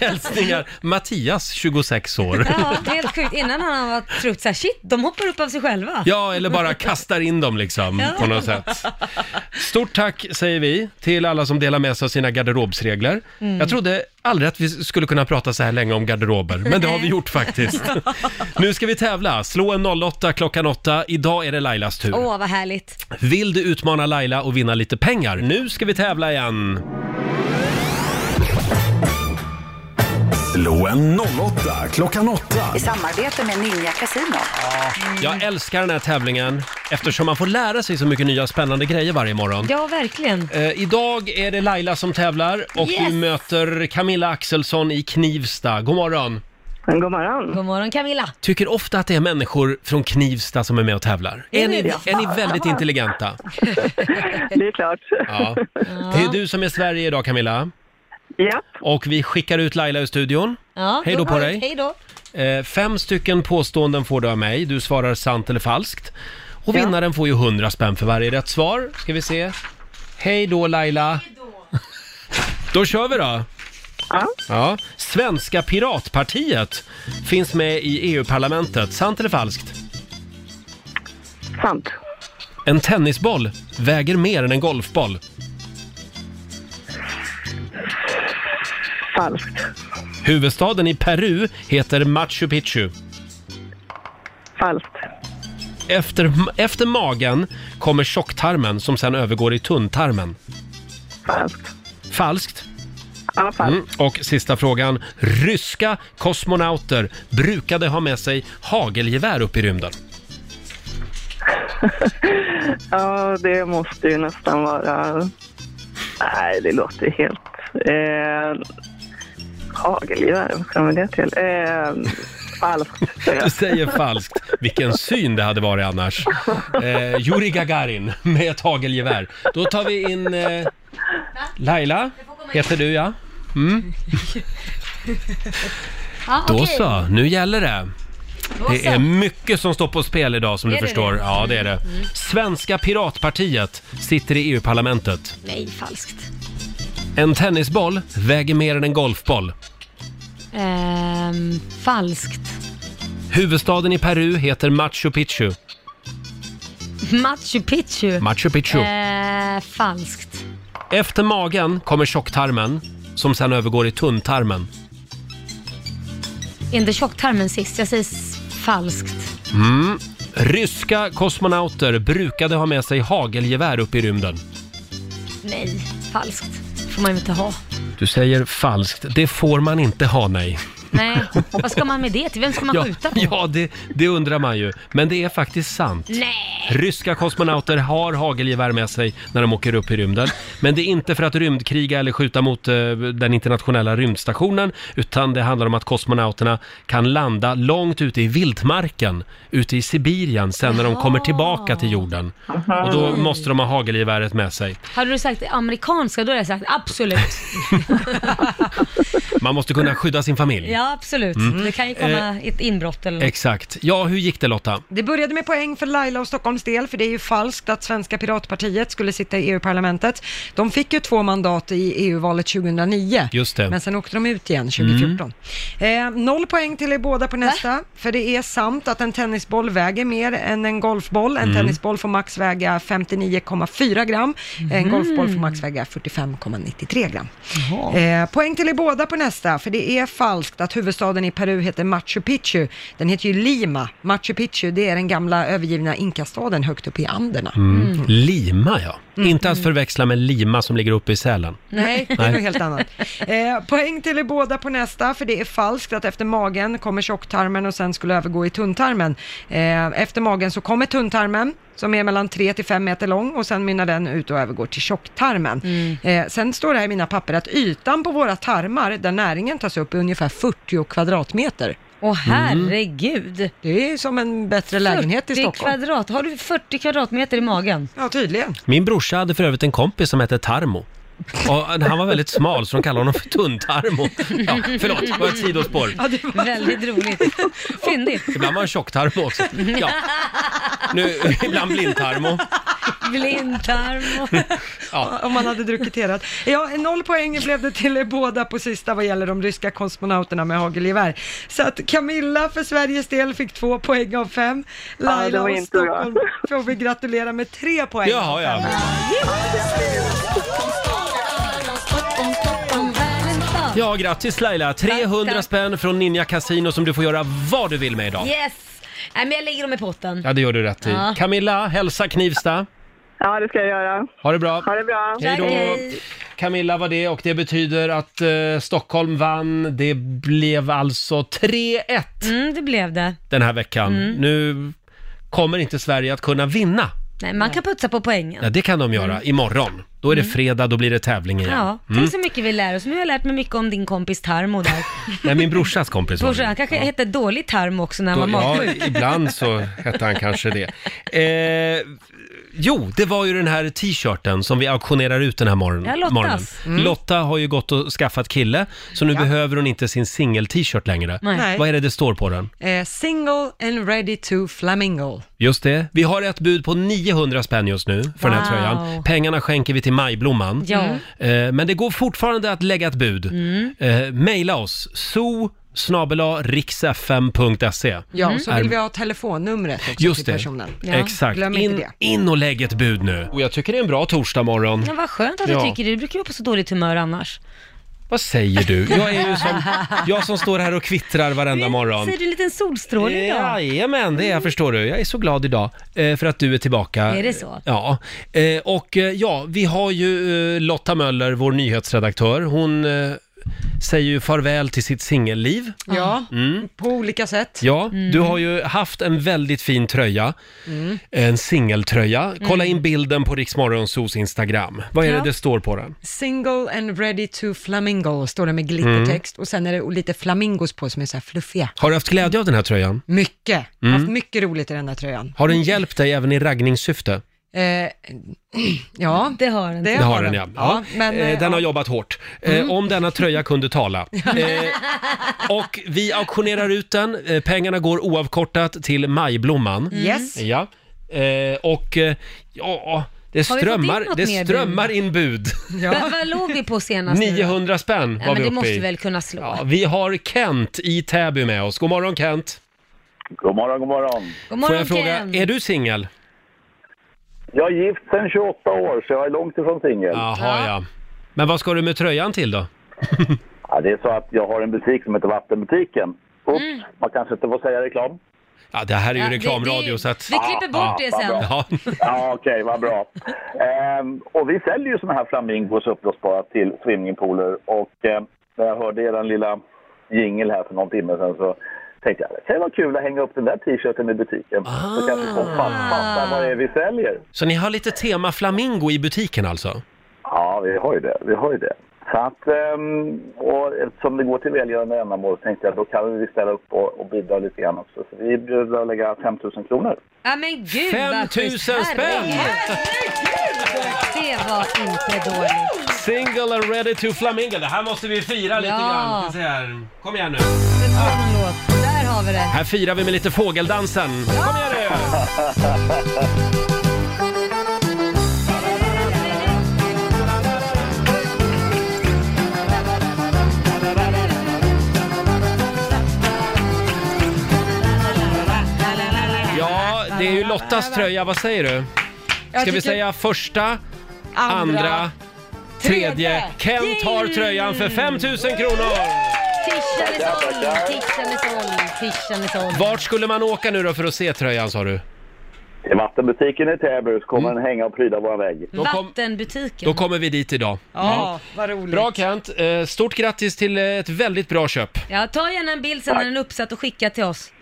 Hälsningar Mattias, 26 år.
Ja, det är helt sjukt. Innan han har trott såhär, shit, de hoppar upp av sig själva.
Ja, eller bara kastar in dem liksom på något sätt. Stort tack säger vi till alla som delar med sig av sina garderobsregler.
Mm.
Jag trodde aldrig att vi skulle kunna prata så här länge om garderober, men det har vi gjort faktiskt. nu ska vi tävla. Slå en 08 klockan 8. Idag är det Lailas tur.
Åh, vad härligt.
Vill du utmana Laila och vinna lite pengar? Nu ska vi tävla igen.
Slå en 08 klockan 8.
I samarbete med Ninja Casino.
Jag älskar den här tävlingen eftersom man får lära sig så mycket nya spännande grejer varje morgon.
Ja, verkligen.
Eh, idag är det Laila som tävlar och
Yes!
du möter Camilla Axelsson i Knivsta. God morgon!
God morgon!
God morgon Camilla.
Tycker ofta att det är människor från Knivsta som är med och tävlar.
Är
Är ni,
det det?
är ni väldigt intelligenta?
Det är klart.
Ja. Det är du som är Sverige idag Camilla.
Ja.
Och vi skickar ut Laila ur studion.
Ja,
Hej då
god
på
morgon.
dig.
Hej då.
Eh, fem stycken påståenden får du av mig. Du svarar sant eller falskt. Och
Ja.
vinnaren får ju 100 spänn för varje rätt svar. Ska vi se. Hej då Laila. då kör vi då.
Ja.
ja. Svenska Piratpartiet finns med i EU-parlamentet. Sant eller falskt?
Sant.
En tennisboll väger mer än en golfboll.
Falskt.
Huvudstaden i Peru heter Machu Picchu.
Falskt.
Efter, efter magen kommer tjocktarmen som sen övergår i tunntarmen.
Falskt.
Falskt? Mm.
Ja, falskt.
Och sista frågan. Ryska kosmonauter brukade ha med sig hagelgevär upp i rymden.
Ja, det måste ju nästan vara... Nej, det låter ju helt... Eh... Hagelgevär, vad ska man det till? Eh... Falskt, säger
Du
jag.
säger falskt. Vilken syn det hade varit annars. Eh, Yuri Gagarin med ett hagelgevär. Då tar vi in eh, Laila, heter du ja. Mm.
Ja, Ah,
Då
okej.
så, nu gäller det.
Då
Det
så.
är mycket som står på spel idag som
Är
du
det
förstår.
det?
Ja, det är det.
Mm.
Svenska Piratpartiet sitter i EU-parlamentet.
Nej, falskt.
En tennisboll väger mer än en golfboll.
Ehm, falskt.
Huvudstaden i Peru heter Machu Picchu.
Machu Picchu.
Machu Picchu.
Eh, falskt.
Efter magen kommer tjocktarmen som sen övergår i tunntarmen.
Är inte tjocktarmen sist? Jag säger s- falskt.
Mm. Ryska kosmonauter brukade ha med sig hagelgevär upp i rymden.
Nej, falskt. får man ju inte ha.
Du säger falskt. Det får man inte ha, nej.
Nej, vad ska man med det till? Vem ska man
ja,
skjuta på?
ja det, det undrar man ju. Men det är faktiskt sant.
Nej!
Ryska kosmonauter har hagelgevär med sig när de åker upp i rymden. Men det är inte för att rymdkriga eller skjuta mot eh, den internationella rymdstationen, utan det handlar om att kosmonauterna kan landa långt ute i vildmarken, ute i Sibirien, sen när de kommer tillbaka till jorden. Och då måste de ha hagelgeväret med sig.
Hade du sagt det amerikanska, då hade jag sagt absolut.
Man måste kunna skydda sin familj.
Ja, absolut.
Mm.
Det kan ju komma
Eh,
ett inbrott eller något.
Exakt. Ja, hur gick det Lotta?
Det började med poäng för Laila och Stockholms del, för det är ju falskt att Svenska Piratpartiet skulle sitta i EU-parlamentet. De fick ju två mandat i EU-valet 2009,
Just det. Mm.
men sen åkte de ut igen 2014. Eh, noll poäng till er båda på nästa, för det är sant att en tennisboll väger mer än en golfboll. En
Mm.
tennisboll får max väga 59,4 gram, en
Mm.
golfboll får max väga 45,93 gram. Eh, poäng till er båda på nästa, för det är falskt att huvudstaden i Peru heter Machu Picchu. Den heter ju Lima. Machu Picchu, det är den gamla övergivna huvudstaden högt upp i Anderna.
Mm. Lima ja. Inte att förväxla med Lima som ligger uppe i Sälen.
Nej, det är något helt annat. Eh, poäng till er båda på nästa, för det är falskt att efter magen kommer tjocktarmen och sen skulle övergå i tunntarmen. Eh, efter magen så kommer tunntarmen, som är mellan 3 till 5 meter lång och sen mynnar den ut och övergår till tjocktarmen. Eh, sen står det här i mina papper att ytan på våra tarmar, där näringen tas upp, är ungefär 40 kvadratmeter.
Åh herregud!
Det är som en bättre lägenhet i
40
Stockholm.
kvadrat. Har du 40 kvadratmeter i magen?
Ja, tydligen.
Min brorsa hade för övrigt en kompis som hette Tarmo. Och han var väldigt smal så de kallade honom för Tunntarmo. Ja, förlåt, det var ett sidospår.
Väldigt roligt. Fyndigt.
Ibland var han tjocktarmo också. Ja. Nu, ibland blindtarmo.
Blindtarm.
Ja.
Om man hade druckit erat. Ja, noll poäng blev det till er båda på sista vad gäller de ryska kosmonauterna med hagelgevär. Så att Camilla för Sveriges del fick två poäng av fem.
det
Laila
var
och
inte bra.
Stockholm får vi gratulera med tre poäng.
Jaha, ja. Ja, grattis Laila! 300 spänn från Ninja Casino som du får göra vad du vill med idag.
Yes! Nej, men jag lägger dem i potten.
Ja, det gör du rätt i.
Ja.
Camilla, hälsa Knivsta.
Ja, det ska jag göra.
Ha det bra!
Ha det bra.
Hej då! Camilla var det och det betyder att eh, Stockholm vann. Det blev alltså 3-1
Mm, det blev det.
den här veckan.
Mm.
Nu kommer inte Sverige att kunna vinna.
Nej, man kan putsa på poängen.
Ja, det kan de göra imorgon. Då är det fredag, då blir det tävling igen.
Mm. Ja,
Mm.
tänk så mycket vi lär oss. Nu har jag lärt mig mycket om din kompis Tarmo där.
Nej, min brorsas kompis var
Brorsan, han kanske hette dålig Tarmo också när han
Då,
var
ja,
magsjuk.
ibland så hette han kanske det. Eh, jo, det var ju den här t-shirten som vi auktionerar ut den här morgon,
Ja, Lottas.
morgonen.
Mm.
Lotta har ju gått och skaffat kille, så nu
Ja.
behöver hon inte sin singel-t-shirt längre.
Nej.
Vad är det det står på den?
Eh, single and ready to flamingo.
Just det. Vi har ett bud på 900 spänn just nu för den här
Wow.
tröjan. Pengarna skänker vi till Majblomman.
Ja.
Eh, Men det går fortfarande att lägga ett bud.
Mm.
Eh, Maila oss, so riksfm.se.
Ja, och så
Är-
vill vi ha telefonnumret också
Mm. Just
till
det,
personen.
exakt.
Glöm inte
In,
det.
in och lägg ett bud nu. Och jag tycker det är en bra torsdag morgon.
Ja, vad skönt att du
Ja.
tycker det. Du brukar ju vara på så dåligt humör annars.
Vad säger du? Jag är ju som, jag som står här och kvittrar varenda morgon.
Ser du en liten solstråle idag? Mm.
Jajamän, det är jag förstår du. Jag är så glad idag eh, för att du är tillbaka.
Är det så?
Ja. Eh, Och eh, ja, vi har ju eh, Lotta Möller, vår nyhetsredaktör. Hon eh, säger ju farväl till sitt singelliv.
Ja,
Mm.
på olika sätt.
Ja, du
Mm.
har ju haft en väldigt fin tröja.
Mm.
En singeltröja. Kolla
Mm.
in bilden på Riksmorgonsos Instagram. Vad är
Ja.
det det står på den?
Single and ready to flamingo står det med glittertext
Mm.
och sen är det lite flamingos på som är så här fluffiga.
Har du haft glädje av den här tröjan?
Mycket,
Mm.
haft mycket roligt i den här tröjan.
Har den hjälpt dig även i raggningssyfte?
Eh, ja,
det har den.
Det har den ja. ja.
men,
eh,
eh,
den har jobbat hårt. Eh,
Mm.
Om denna tröja kunde tala. Eh, och vi auktionerar ut den. Eh, pengarna går oavkortat till Majblomman.
Mm. Yes.
Ja. Eh, och eh, ja, det
Har vi fått in
strömmar,
något
det
mer bud?
strömmar in bud.
Va- Vad låg vi på senast? nu då?
900 spänn var
ja,
vi
men det
uppe
måste
i.
väl kunna slå.
Ja, vi har Kent i Täby med oss. God morgon Kent!
God morgon, god morgon.
God
Får
morgon,
jag fråga,
Ken.
är du singel?
Jag är gift sedan 28 år, så jag är långt ifrån singel.
Jaha ja. Men vad ska du med tröjan till då?
Ja, det är så att jag har en butik som heter Vattenbutiken. Oops, man kanske inte får säga reklam.
Ja, det här är ju
Ja, det-
reklamradio
det-
så att...
vi klipper bort
Ja,
det
vad
sen.
bra. Ja.
Ja, okej, vad bra. Ehm, och vi säljer ju såna här flamingos uppblåsbara till swimmingpooler. Och eh, när jag hörde er lilla jingel här för någon timme sedan så tänkte jag det kan ju vara kul att hänga upp den där t-shirten i butiken. Så kanske folk fatt- fattar vad det är vi säljer.
Så ni har lite tema flamingo i butiken alltså?
Ja, vi har ju det. Vi har ju det. Så att, ehm, och eftersom det går till välgörande ändamål så tänkte jag då kan vi ställa upp och, och bidra lite grann också. Så vi bjuder att lägga 5 000 kronor.
Ja men gud
5 000
vad schysst.
spänn.
Herregud. Det var inte dåligt.
Single and ready to flamingo. Det här måste vi fira lite
Ja.
grann. Ska se här. Kom igen nu.
Men ta någon låt. Där har vi det.
Här firar vi med lite fågeldansen. Kom igen nu! Ja, det är ju Lottas tröja. Vad säger du?
Jag
Ska vi
tycker-
säga första, andra, tredje. Kent tar tröjan för 5 000 kronor!
Tischa med sol, tischa med sol, tischa med sol.
Vart skulle man åka nu då för att se tröjan sa du?
Till vattenbutiken i Täby så kommer den hänga och pryda vår vägg.
Vattenbutiken.
Då kommer vi dit idag.
Ja, vad roligt.
Bra Kent, Eh, stort grattis till eh, ett väldigt bra köp.
Ja, ta gärna en bild sen när den är uppsatt och skicka till oss.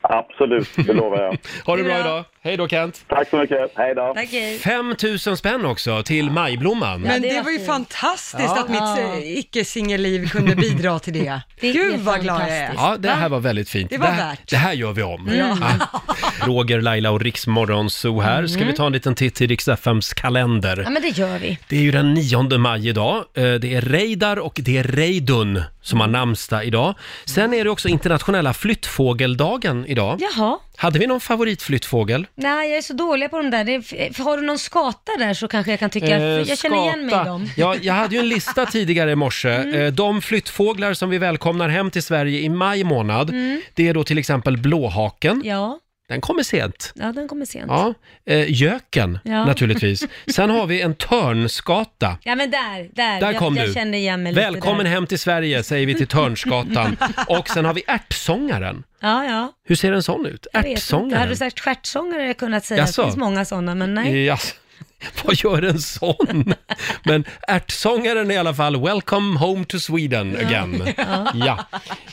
Absolut, det lovar jag.
Ha det
Det är
bra
bra.
idag. Hej då Kent.
Tack så mycket. Hej då.
Tack, hej.
5 000 spänn också till Majblomman.
Men det, var ju fantastiskt
Ja.
att mitt
Ja.
eh, icke-singelliv kunde bidra till det. Gud vad glad jag är.
Ja, det här var väldigt fint.
Det var
här,
värt.
Det här gör vi om.
Mm.
Ja.
Ja. Roger, Laila och Riksmorgonzoo här. Ska
Mm.
vi ta en liten titt i Rix FMs kalender?
Ja, men det gör vi.
Det är ju den 9 maj idag. Eh, Det är Reidar och det är Reidun som har namnsdag idag. Sen är det också internationella flyttfågeldagen idag.
Jaha.
Hade vi någon favoritflyttfågel?
Nej, jag är så dålig på de där. Det är, har du någon skata där så kanske jag kan tycka,
Eh,
jag känner igen mig i
skata.
dem.
Ja, jag hade ju en lista tidigare i morse.
Mm.
Eh, De flyttfåglar som vi välkomnar hem till Sverige i maj månad,
Mm.
det är då till exempel blåhaken.
Ja,
Den kommer sent.
ja den kommer sent. Ja.
Ja, eh, göken
Ja.
naturligtvis. Sen har vi en törnskata.
men där, där.
Där
jag,
kom
jag
du.
kände igen mig lite
Välkommen
där.
hem till Sverige säger vi till Törnskatan. Och sen har vi ärtsångaren.
Ja, ja.
Hur ser en sån ut?
Jag vet inte. Hade du
Ärtsångaren?
sagt stjärtsångare hade jag kunnat säga.
Jaså?
Det finns många sådana, men nej.
Eh, jaså, Vad gör en sån? Men ärtsångaren är i alla fall “Welcome home to Sweden again”.
Ja.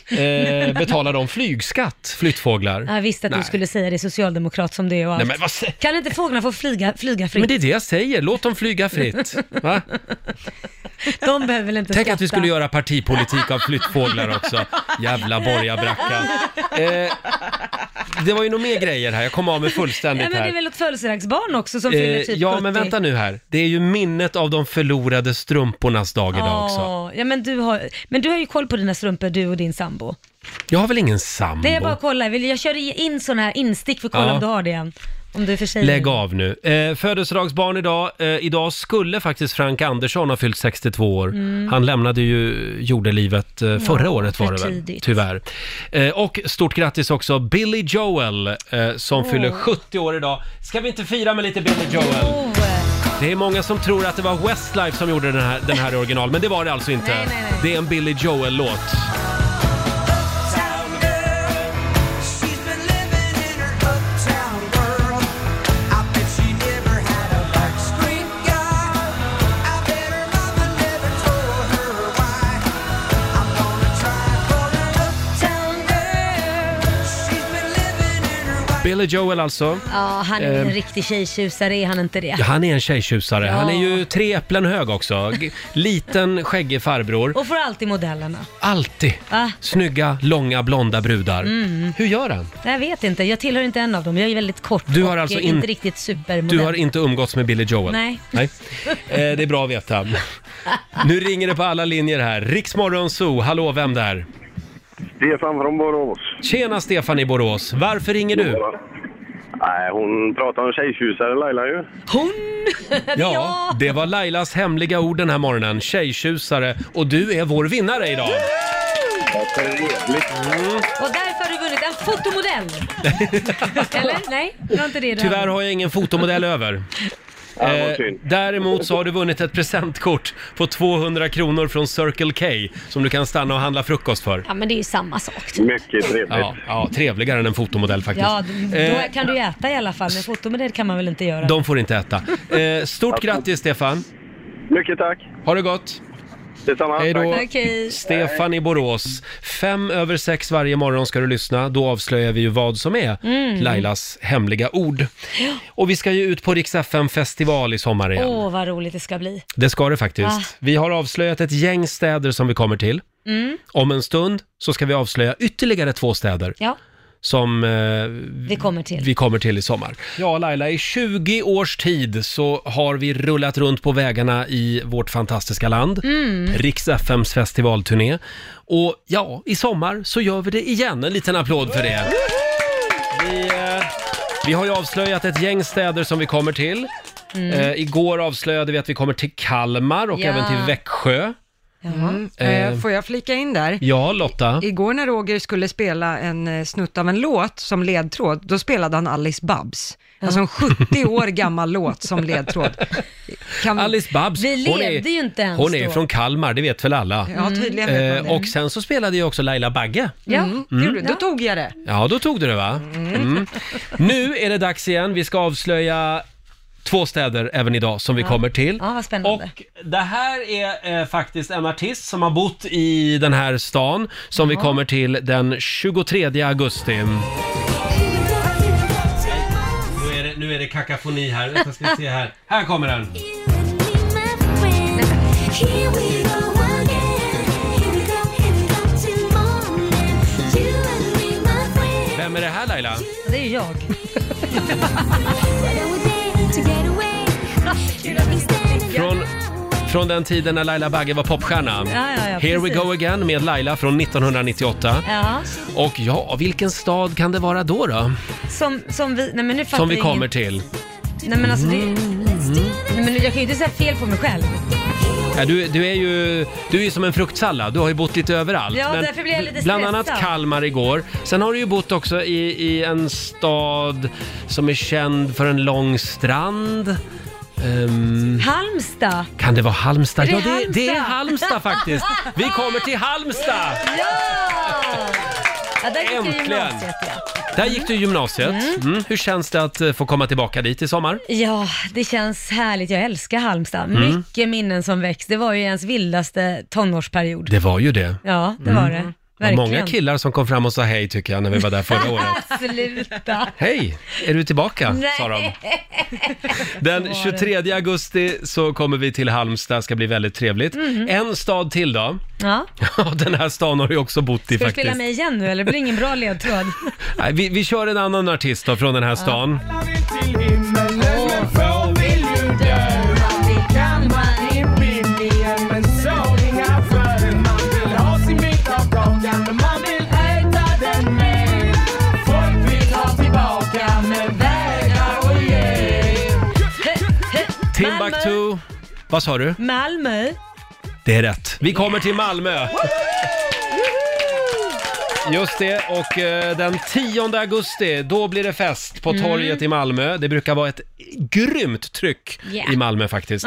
Ja. Eh, betalar de flygskatt, flyttfåglar?
Jag visste att
Nej.
du skulle säga det, socialdemokrat som du är och allt.
Nej, men vad sä-
Kan inte fåglarna få flyga, flyga fritt?
Men det är det jag säger, låt dem flyga fritt. Va?
De behöver väl inte
Tänk
skatta?
att vi skulle göra partipolitik av flyttfåglar också. Jävla borgarbracka. Eh, det var ju nog mer grejer här, jag kom av mig
Ja,
fullständigt
men det är
här.
väl ett födelsedagsbarn också som fyller
Eh,
typ
ja,
70.
men vänta nu här. Det är ju minnet av de förlorade strumpornas dag idag också.
Ja, Ja, men, du har, men du har ju koll på dina strumpor, du och din sambo.
Jag har väl ingen sambo?
Det är bara att kolla. Vill- Jag kör in sån här instick för att kolla
Ja.
om du har det än. Om du är för sig.
Lägg av nu. Eh, födelsedagsbarn idag. Eh, idag skulle faktiskt Frank Andersson ha fyllt 62 år.
Mm.
Han lämnade ju jordelivet eh, förra
Ja,
året var
för
det väl,
tidigt.
tyvärr. Eh, och stort grattis också Billy Joel eh, som
Åh.
fyller 70 år idag. Ska vi inte fira med lite Billy Joel? Det är många som tror att det var Westlife som gjorde den här, den här i original, men det var det alltså inte.
Nej, nej, nej.
Det är en Billy Joel-låt. Billy Joel alltså.
Ja, han är
Eh.
en riktig tjejtjusare, är han inte det?
Ja, han är en tjejtjusare.
Ja.
Han är ju tre äpplen hög också. G- Liten, skäggig farbror.
Och får alltid modellerna.
Alltid
Va?
snygga, långa, blonda brudar.
Mm.
Hur gör han?
Jag vet inte, jag tillhör inte en av dem. Jag är väldigt kort
Du har
och
alltså
eh,
in-
inte riktigt supermodell.
Du har inte umgåtts med Billy Joel?
Nej.
Eh, det är bra att veta. Nu ringer det på alla linjer här. Riksmorgon Zoo, hallå, vem där?
Stefan från Borås.
Tjena Stefan i Borås. Varför ringer du?
Nej, hon pratar om tjejtjusare Laila ju.
Hon?
Ja, det var Lailas hemliga ord den här morgonen. Tjejtjusare. Och du är vår vinnare idag. Mm.
Och därför har du vunnit en fotomodell! Eller? Nej, det var inte det du
Tyvärr
hade.
har jag ingen fotomodell över. Eh, däremot så har du vunnit ett presentkort på 200 kronor från Circle K som du kan stanna och handla frukost för.
Ja, men det är ju samma sak.
Mycket trevligt.
Ja, ja trevligare än en fotomodell faktiskt.
Ja,
Eh,
då kan du ju äta i alla fall, men fotomodell kan man väl inte göra?
de får inte äta. Eh, stort grattis Stefan!
Mycket tack!
Ha det gott!
Detsamma!
Hej då!
tack. Okej.
Stefan i Borås. Fem över sex varje morgon ska du lyssna. Då avslöjar vi ju vad som är
Mm.
Lailas hemliga ord. Och vi ska ju ut på Rix FM festival i sommar igen.
Åh, vad roligt det ska bli.
Det ska det faktiskt.
Ah.
Vi har avslöjat ett gäng städer som vi kommer till.
Mm.
Om en stund så ska vi avslöja ytterligare två städer
Ja,
som eh,
vi kommer till.
vi kommer till i sommar. Ja, Laila, i 20 års tid så har vi rullat runt på vägarna i vårt fantastiska land.
Mm.
Rix FMs festivalturné. Och ja, i sommar så gör vi det igen. En liten applåd för det. Vi, eh, vi har ju avslöjat ett gäng städer som vi kommer till.
Mm.
Eh, igår avslöjade vi att vi kommer till Kalmar och
Ja.
även till Växjö.
Mm.
Eh.
Eh, får jag flika in där?
Ja, Lotta.
Igår när Roger skulle spela en eh, snutt av en låt som ledtråd, då spelade han Alice Babs. Alltså en 70 år gammal låt som ledtråd.
Alice Babs,
Vi
hon
levde
är,
ju inte ens
hon är
då.
från Kalmar, det vet väl alla. Eh,
Ja, tydligen vet man det.
och sen så spelade ju också Laila Bagge.
Ja, det gjorde du. Då
Mm.
tog jag det.
Ja, då tog du det va? Mm. Nu är det dags igen. Vi ska avslöja två städer även idag som vi
Ja.
kommer till.
Ja, vad spännande.
Och det här är eh, faktiskt en artist som har bott i den här stan som vi kommer till den 23 augusti. Nu är det, nu är det kakafoni här. Vänta, ska vi se här. Här kommer den. Vem är det här Laila?
Det är ju jag.
Från, från den tiden när Laila Bagge var popstjärna.
Ja, ja, ja,
Here we
precis.
go again med Laila från 1998.
Ja,
Och ja, vilken stad kan det vara då då?
som, som vi, nej men nu fattar
Som vi
jag ingen-
kommer till.
Nej men alltså det, nej, men jag kan ju inte säga fel på mig själv.
Ja, du, du är ju du är ju som en fruktsallad, du har ju bott lite överallt.
Ja, därför blir jag lite
bland
stressad.
annat Kalmar igår. Sen har du ju bott också i, i en stad som är känd för en lång strand. Ehm,
Halmstad.
kan det vara Halmstad?
Är det
ja, det,
Halmstad?
det är Halmstad faktiskt. Vi kommer till Halmstad!
Ja, där gick jag
Äntligen.
gymnasiet, ja.
Där gick du gymnasiet. Mm. Hur känns det att eh, få komma tillbaka dit i sommar?
Ja, det känns härligt. Jag älskar Halmstad.
Mm.
Mycket minnen som väcks. Det var ju ens vildaste tonårsperiod.
Det var ju det.
Ja, det
Mm.
var
Det
det.
var
Verkligen.
många killar som kom fram och sa hej tycker jag när vi var där förra året.
Sluta.
Hej, är du tillbaka? sa de.
Nej.
Den 23 augusti så kommer vi till Halmstad, ska bli väldigt trevligt.
Mhm.
En stad till då.
Ja.
Ja, Den här stan har du också bott i
Ska du
faktiskt.
spela mig igen nu eller? Det blir ingen bra ledtråd.
Nej, vi, vi kör en annan artist då från den här stan. Timbuktu. Vad sa du?
Malmö.
Det är rätt. Vi kommer till Malmö. Just det, och eh, den 10 augusti, då blir det fest på
Mm.
torget i Malmö. Det brukar vara ett grymt tryck
Yeah.
i Malmö faktiskt.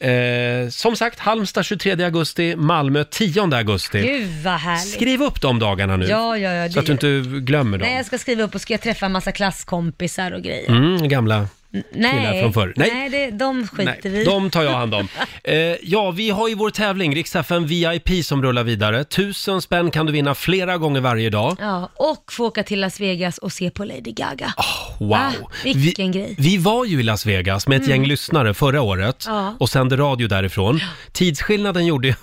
Ja.
Eh, som sagt, Halmstad 23 augusti, Malmö 10 augusti.
Gud vad härligt.
Skriv upp de dagarna nu,
Ja, ja, ja.
så att du inte glömmer dem.
Nej, jag ska skriva upp och ska jag träffa en massa klasskompisar och grejer.
Mm, gamla killar från förr.
Nej, det, de skiter
Nej,
vi i.
de tar jag hand om. Eh, ja, vi har ju vår tävling, Rix FM VIP, som rullar vidare. Tusen spänn kan du vinna flera gånger varje dag.
Ja, och få åka till Las Vegas och se på Lady Gaga.
Wow!
Ah, vilken grej.
Vi var ju i Las Vegas med ett
Mm.
gäng lyssnare förra året
Ja.
och sände radio därifrån. Tidsskillnaden gjorde ju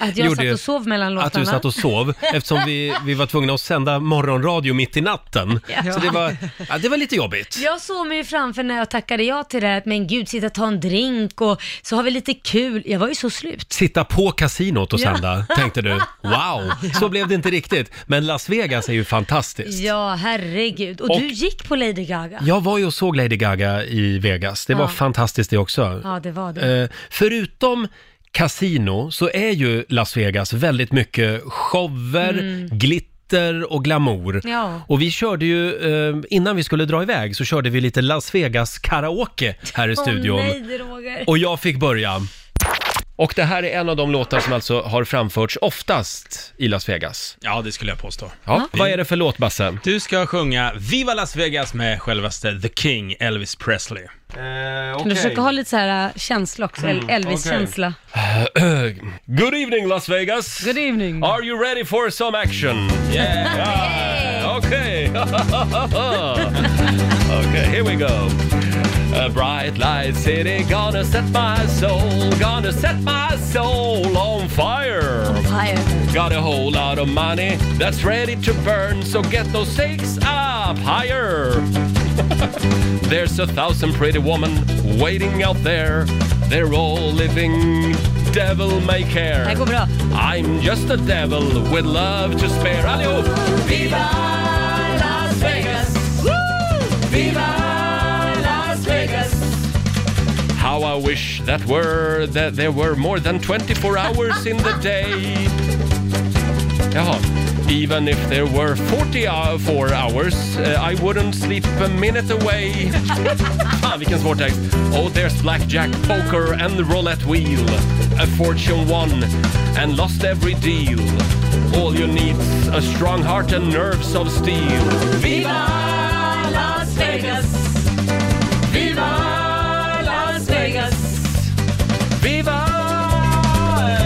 Att jag
gjorde
satt
ju
och sov mellan låtarna.
att du satt och sov eftersom vi, vi var tvungna att sända morgonradio mitt i natten.
Ja.
Så det var, ja, det var lite jobbigt.
Jag såg mig ju framför när jag tackade ja till det här, att men gud, sitta och ta en drink och så har vi lite kul. Jag var ju så slut.
Sitta på kasinot och
Ja.
sända, tänkte du. Wow, så blev det inte riktigt. Men Las Vegas är ju fantastiskt.
Ja, herregud. Och,
Och-
du gick på Lady Gaga.
Jag var ju och såg Lady Gaga i Vegas. Det var
Ja.
fantastiskt det också.
Ja, det var det.
Eh, förutom kasino så är ju Las Vegas väldigt mycket shower,
Mm.
glitter och glamour.
Ja.
Och vi körde ju, eh, innan vi skulle dra iväg så körde vi lite Las Vegas karaoke här i studion.
Åh nej, Roger.
Och jag fick börja. Och det här är en av de låtar som alltså har framförts oftast i Las Vegas.
Ja, det skulle jag påstå.
Ja, vad är det för låt, Basse?
Du ska sjunga Viva Las Vegas med självaste The King, Elvis Presley.
Eh,
Kan du försöka ha lite så här äh, känsla också,
Mm,
El- Elvis-känsla.
Good evening Las Vegas! Good
evening!
Are you ready for some action? Yeah! okay! Ah, okay, here we go! A bright light city gonna set my soul, gonna set my soul on fire! Got a whole lot of money that's ready to burn, so get those stakes up higher. There's a thousand pretty women waiting out there. They're all living devil may care.
Det här går bra.
I'm just a devil with love to spare. Allihop!
Viva Las Vegas! Viva Las Vegas!
How How I wish that were that there were more than 24 hours in the day. Jaha. Even if there were 44 hours uh, I wouldn't sleep a minute away. Fan vilken svår text. Oh there's blackjack, poker and the roulette wheel. A fortune won and lost every deal. All you need's a strong heart and nerves of steel.
Viva Las Vegas! Viva Las Vegas!
Viva!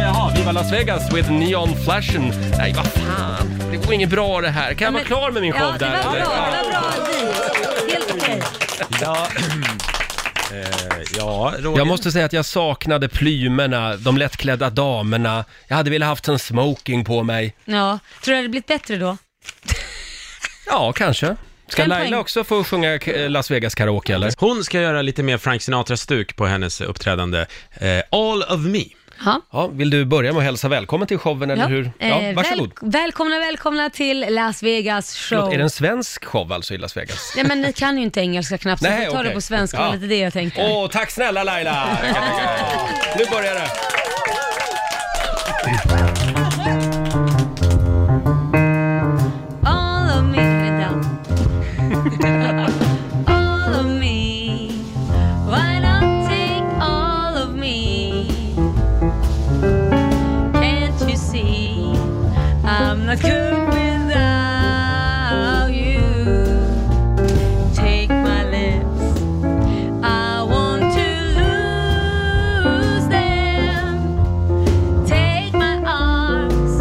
Jaha, Viva Las Vegas with neon flashen. Nej, vad fan. Det går inget bra det här. Kan jag vara klar med min show
Ja, det
där?
var bra.
eller? Ja.
Det var bra, Vi. Helt okej.
Ja, Eh, ja Roger.
Jag måste säga att jag saknade plymerna, de lättklädda damerna. Jag hade velat haft en smoking på mig.
Ja, tror du det hade blivit bättre då?
Ja, kanske. Ska
En
Laila
poäng.
också få sjunga eh, Las Vegas karaoke eller?
Hon ska göra lite mer Frank Sinatra-stuk på hennes uppträdande. Eh, All of me.
Ja.
vill du börja med att hälsa välkommen till showen eller
Ja.
hur? Ja,
Eh,
varsågod.
Väl, välkomna, välkomna till Las Vegas show.
Förlåt, är det en svensk show alltså i Las Vegas?
Nej, men ni kan ju inte engelska knappt, så
Nej,
vi tar
okej.
det på svenska. Det var
Ja.
lite det jag tänkte.
Åh, tack snälla Laila! Nu börjar det.
All of me,
all of me. Why not take all of me? Can't you see? I'm not good without you. Take my lips. I want to lose them. Take my arms.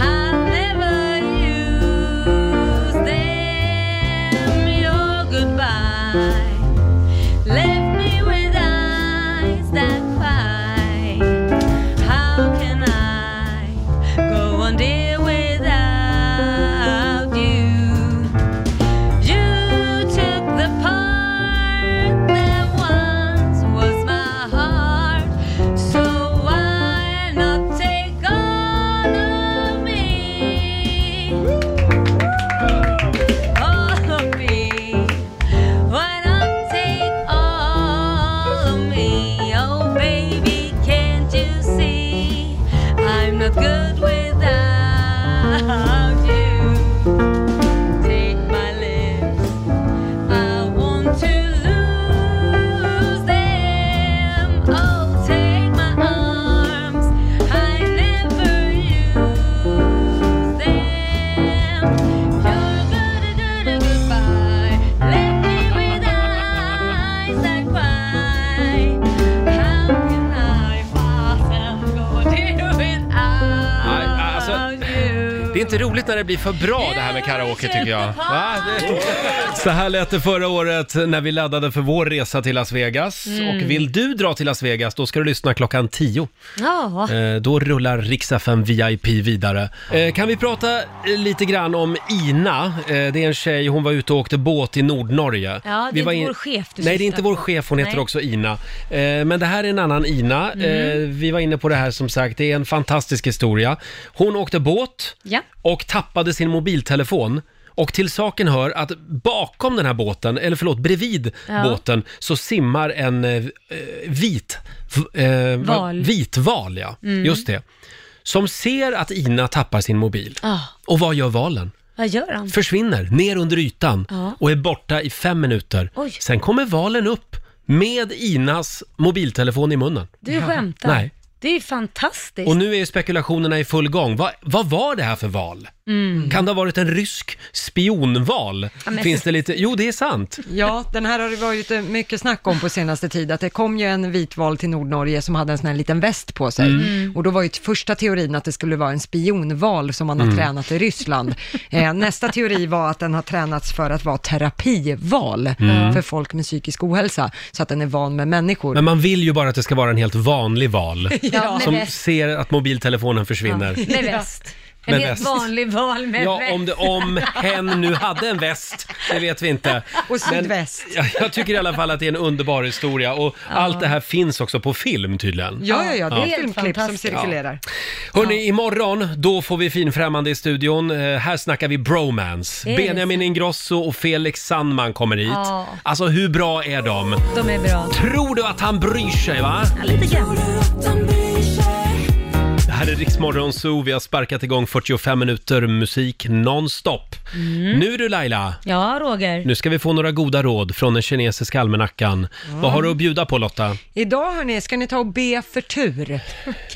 I'll never use them. Your goodbye left me with eyes that cry. How can I go on dear without you? You took the part that once was my heart, so why not take all of me? All of me. Why not take all of me? Oh, baby, can't you see? I'm not good without you. Take my lips, I want to lose them. Oh, take my arms, I never use them. You're good at goodbye. Left me with eyes that cry. How can I fathom going
Nej,
without?
alltså, det är inte roligt när det blir för bra det här med karaoke tycker jag. Va? Det... Så här lät det förra året när vi laddade för vår resa till Las Vegas.
Mm.
Och vill du dra till Las Vegas, då ska du lyssna klockan 10.
Ja.
Eh, Då rullar riks FM VIP vidare. Eh, Kan vi prata eh, lite grann om Ina? Eh, Det är en tjej, hon var ute och åkte båt i Nordnorge.
Ja, det
Vi
är
var
inte vår chef du
Nej, det
syftar
är inte vår
på.
chef, hon heter
Nej.
också Ina. Eh, Men det här är en annan Ina. Eh,
Mm.
Vi var inne på det här som sagt, det är en fantastisk historia. Hon åkte båt
Ja.
och tappade sin mobiltelefon. Och till saken hör att bakom den här båten, eller förlåt, bredvid
Ja.
båten, så simmar en eh, vit... v- Eh, va-
Val.
Vitval, ja.
Mm.
Just det. Som ser att Ina tappar sin mobil.
Ah,
Och vad gör valen?
vad gör han?
Försvinner ner under ytan
Ja.
och är borta i fem minuter.
Oj.
Sen kommer valen upp med Inas mobiltelefon i munnen.
Du skämtar?
Nej.
Det är ju fantastiskt.
Och nu är ju spekulationerna i full gång. Vad, vad var det här för val?
Mm.
Kan det ha varit en rysk spionval?
Ja, men-
Finns det lite... Jo, det är sant.
Ja, den här har det varit eh, mycket snack om på senaste tid, att det kom ju en vitval till Nordnorge som hade en sån här liten väst på sig.
Mm.
Och då var ju t- första teorin att det skulle vara en spionval som man har
Mm.
tränat i Ryssland. Eh, nästa teori var att den har tränats för att vara terapival
Mm.
för folk med psykisk ohälsa, så att den är van med människor.
Men man vill ju bara att det ska vara en helt vanlig val.
Ja, med
som
väst.
ser att mobiltelefonen försvinner.
Med väst. En
Med
helt
väst.
vanlig val med
Ja,
väst.
om, det, om hen nu hade en väst, det vet vi inte.
Och sydväst.
Men jag, jag tycker i alla fall att det är en underbar historia och allt det här finns också på film tydligen.
Ja, ja, ja, det är
Helt
filmklipp som
fantastiskt.
cirkulerar.
Hörni, imorgon då får vi finfrämmande i studion. Eh, här snackar vi bromance.
Det är
Benjamin Ingrosso och Felix Sandman kommer hit.
Ja.
Alltså hur bra är de?
De är bra.
Tror du att han bryr sig va?
Ja, lite grann.
Det här är Riksmorgon Zoo. Vi har sparkat igång 45 minuter musik nonstop. Nu du Laila,
Ja, Roger.
nu ska vi få några goda råd från den kinesiska almanackan.
Ja.
Vad har du att bjuda på Lotta?
Idag hörni, ska ni ta och be för tur.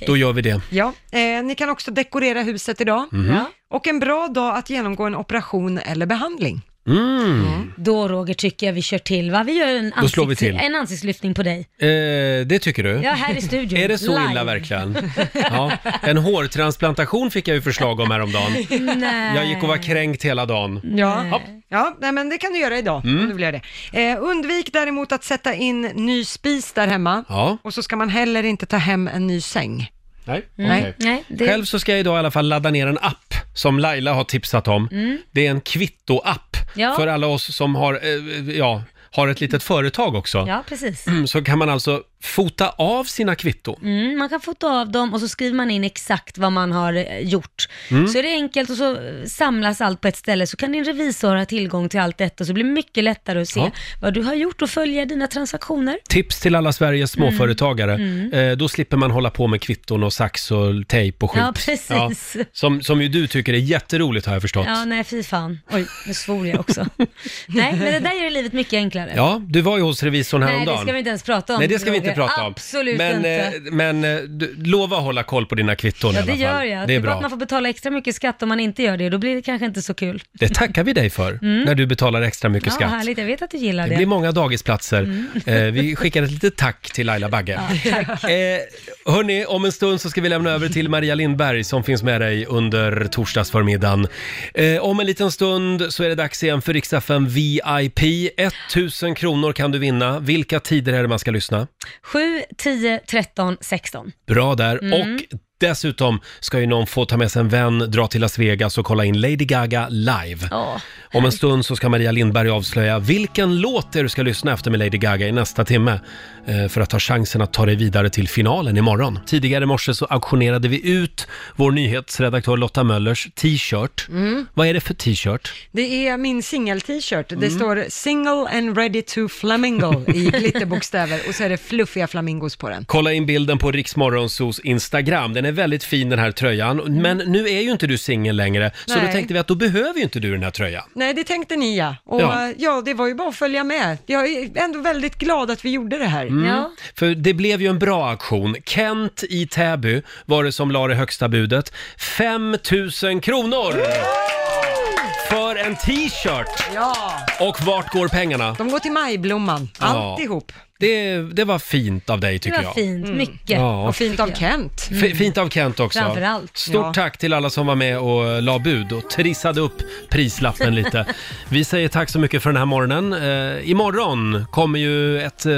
Då gör vi det.
Ja, eh, ni kan också dekorera huset idag.
Mhm. Ja.
Och en bra dag att genomgå en operation eller behandling.
Mm.
Då Roger tycker jag vi kör till va? Vi gör en,
Då slår vi till.
en ansiktslyftning på dig.
Eh, det tycker du?
Ja, här i studion.
Är det så
Live.
illa verkligen? Ja. En hårtransplantation fick jag ju förslag om häromdagen.
Nej.
Jag gick och var kränkt hela dagen.
Ja, ja nej, men det kan du göra idag
Mm.
om du vill göra det. Eh, undvik däremot att sätta in ny spis där hemma.
Ja.
Och så ska man heller inte ta hem en ny säng.
Nej.
Nej.
okej.
Nej, det-
Själv så ska jag idag i alla fall ladda ner en app som Laila har tipsat om.
Mm.
Det är en kvittoapp
Ja.
för alla oss som har, eh, ja, har ett litet företag också.
Ja, precis.
Så kan man alltså fota av sina kvitton.
Mm, man kan fota av dem och så skriver man in exakt vad man har eh, gjort.
Mm.
Så är det enkelt och så eh, samlas allt på ett ställe så kan din revisor ha tillgång till allt detta så det blir mycket lättare att se
Ja.
vad du har gjort och följa dina transaktioner.
Tips till alla Sveriges
Mm.
småföretagare.
Mm.
Eh, då slipper man hålla på med kvitton och sax och tejp och skit.
Ja, precis.
Som, som ju du tycker är jätteroligt har jag förstått.
Ja, nej fy fan. Oj, nu svor jag också. nej, men det där gör livet mycket enklare.
Ja, du var ju hos revisorn
nej,
häromdagen.
det ska vi inte ens prata om.
Nej, det ska vi inte
Roger.
prata om.
Absolut
men,
inte.
eh, Men eh, du, lova att hålla koll på dina kvitton i
Ja,
alla
det
fall.
gör jag.
Det är
bara att man
bra.
får betala extra mycket skatt om man inte gör det och då blir det kanske inte så kul.
Det tackar vi dig för,
Mm.
när du betalar extra mycket
Ja,
skatt.
härligt. Jag vet att du gillar
Det
det.
blir många dagisplatser.
Mm.
Eh, vi skickar ett litet tack till Laila Bagge. eh, hörni, om en stund så ska vi lämna över till Maria Lindberg som finns med dig under torsdagsförmiddagen. Eh, om en liten stund så är det dags igen för Riksdagen VIP. 1000 kronor kan du vinna. Vilka tider är det man ska lyssna?
7, 10, 13, 16.
Bra där.
Mm.
Och dessutom ska ju någon få ta med sig en vän, dra till Las Vegas och kolla in Lady Gaga live. Om en stund så ska Maria Lindberg avslöja vilken låt det är du ska lyssna efter med Lady Gaga i nästa timme eh, för att ha chansen att ta dig vidare till finalen imorgon. Tidigare i morse så auktionerade vi ut vår nyhetsredaktör Lotta Möllers t-shirt. Vad är det för t-shirt?
Det är min singel-t-shirt. Det
Mm.
står “Single and ready to flamingo” i glitterbokstäver och så är det fluffiga flamingos på den.
Kolla in bilden på Riksmorgonsos Instagram. Den är väldigt fin den här tröjan. Men nu är ju inte du singel längre, så då
Nej.
tänkte vi att då behöver ju inte du den här tröjan.
Nej, det tänkte ni ja. Och
Ja.
ja. ja, det var ju bara att följa med. Jag är ändå väldigt glad att vi gjorde det här.
Mm. För det blev ju en bra aktion. Kent i Täby var det som la det högsta budet. 5 000 kronor! För en t-shirt!
Ja.
Och vart går pengarna?
De går till Majblomman,
Ja.
alltihop.
Det, det var fint av dig tycker jag.
Mm.
mycket.
Ja.
Och fint av Kent.
F- Fint av Kent också.
Mm. Framförallt.
Stort
Ja.
tack till alla som var med och la bud och trissade upp prislappen lite. Vi säger tack så mycket för den här morgonen. Eh, imorgon kommer ju ett eh,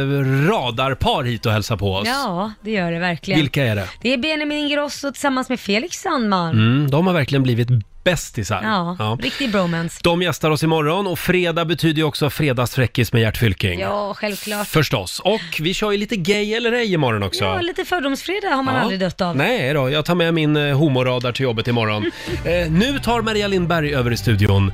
radarpar hit och hälsa på oss.
Ja, det gör det verkligen.
Vilka är det?
Det är Benjamin Ingrosso tillsammans med Felix Sandman.
Mm, de har verkligen blivit bästisar.
Ja, riktig bromance.
De gästar oss imorgon och fredag betyder ju också fredagsfräckis med Gert Fylking.
Ja, självklart.
Förstås. Och vi kör ju lite gay eller ej imorgon också.
Ja, lite fördomsfredag har man
Ja.
aldrig dött av.
Nej då, jag tar med min eh, homoradar till jobbet imorgon. eh, nu tar Maria Lindberg över i studion.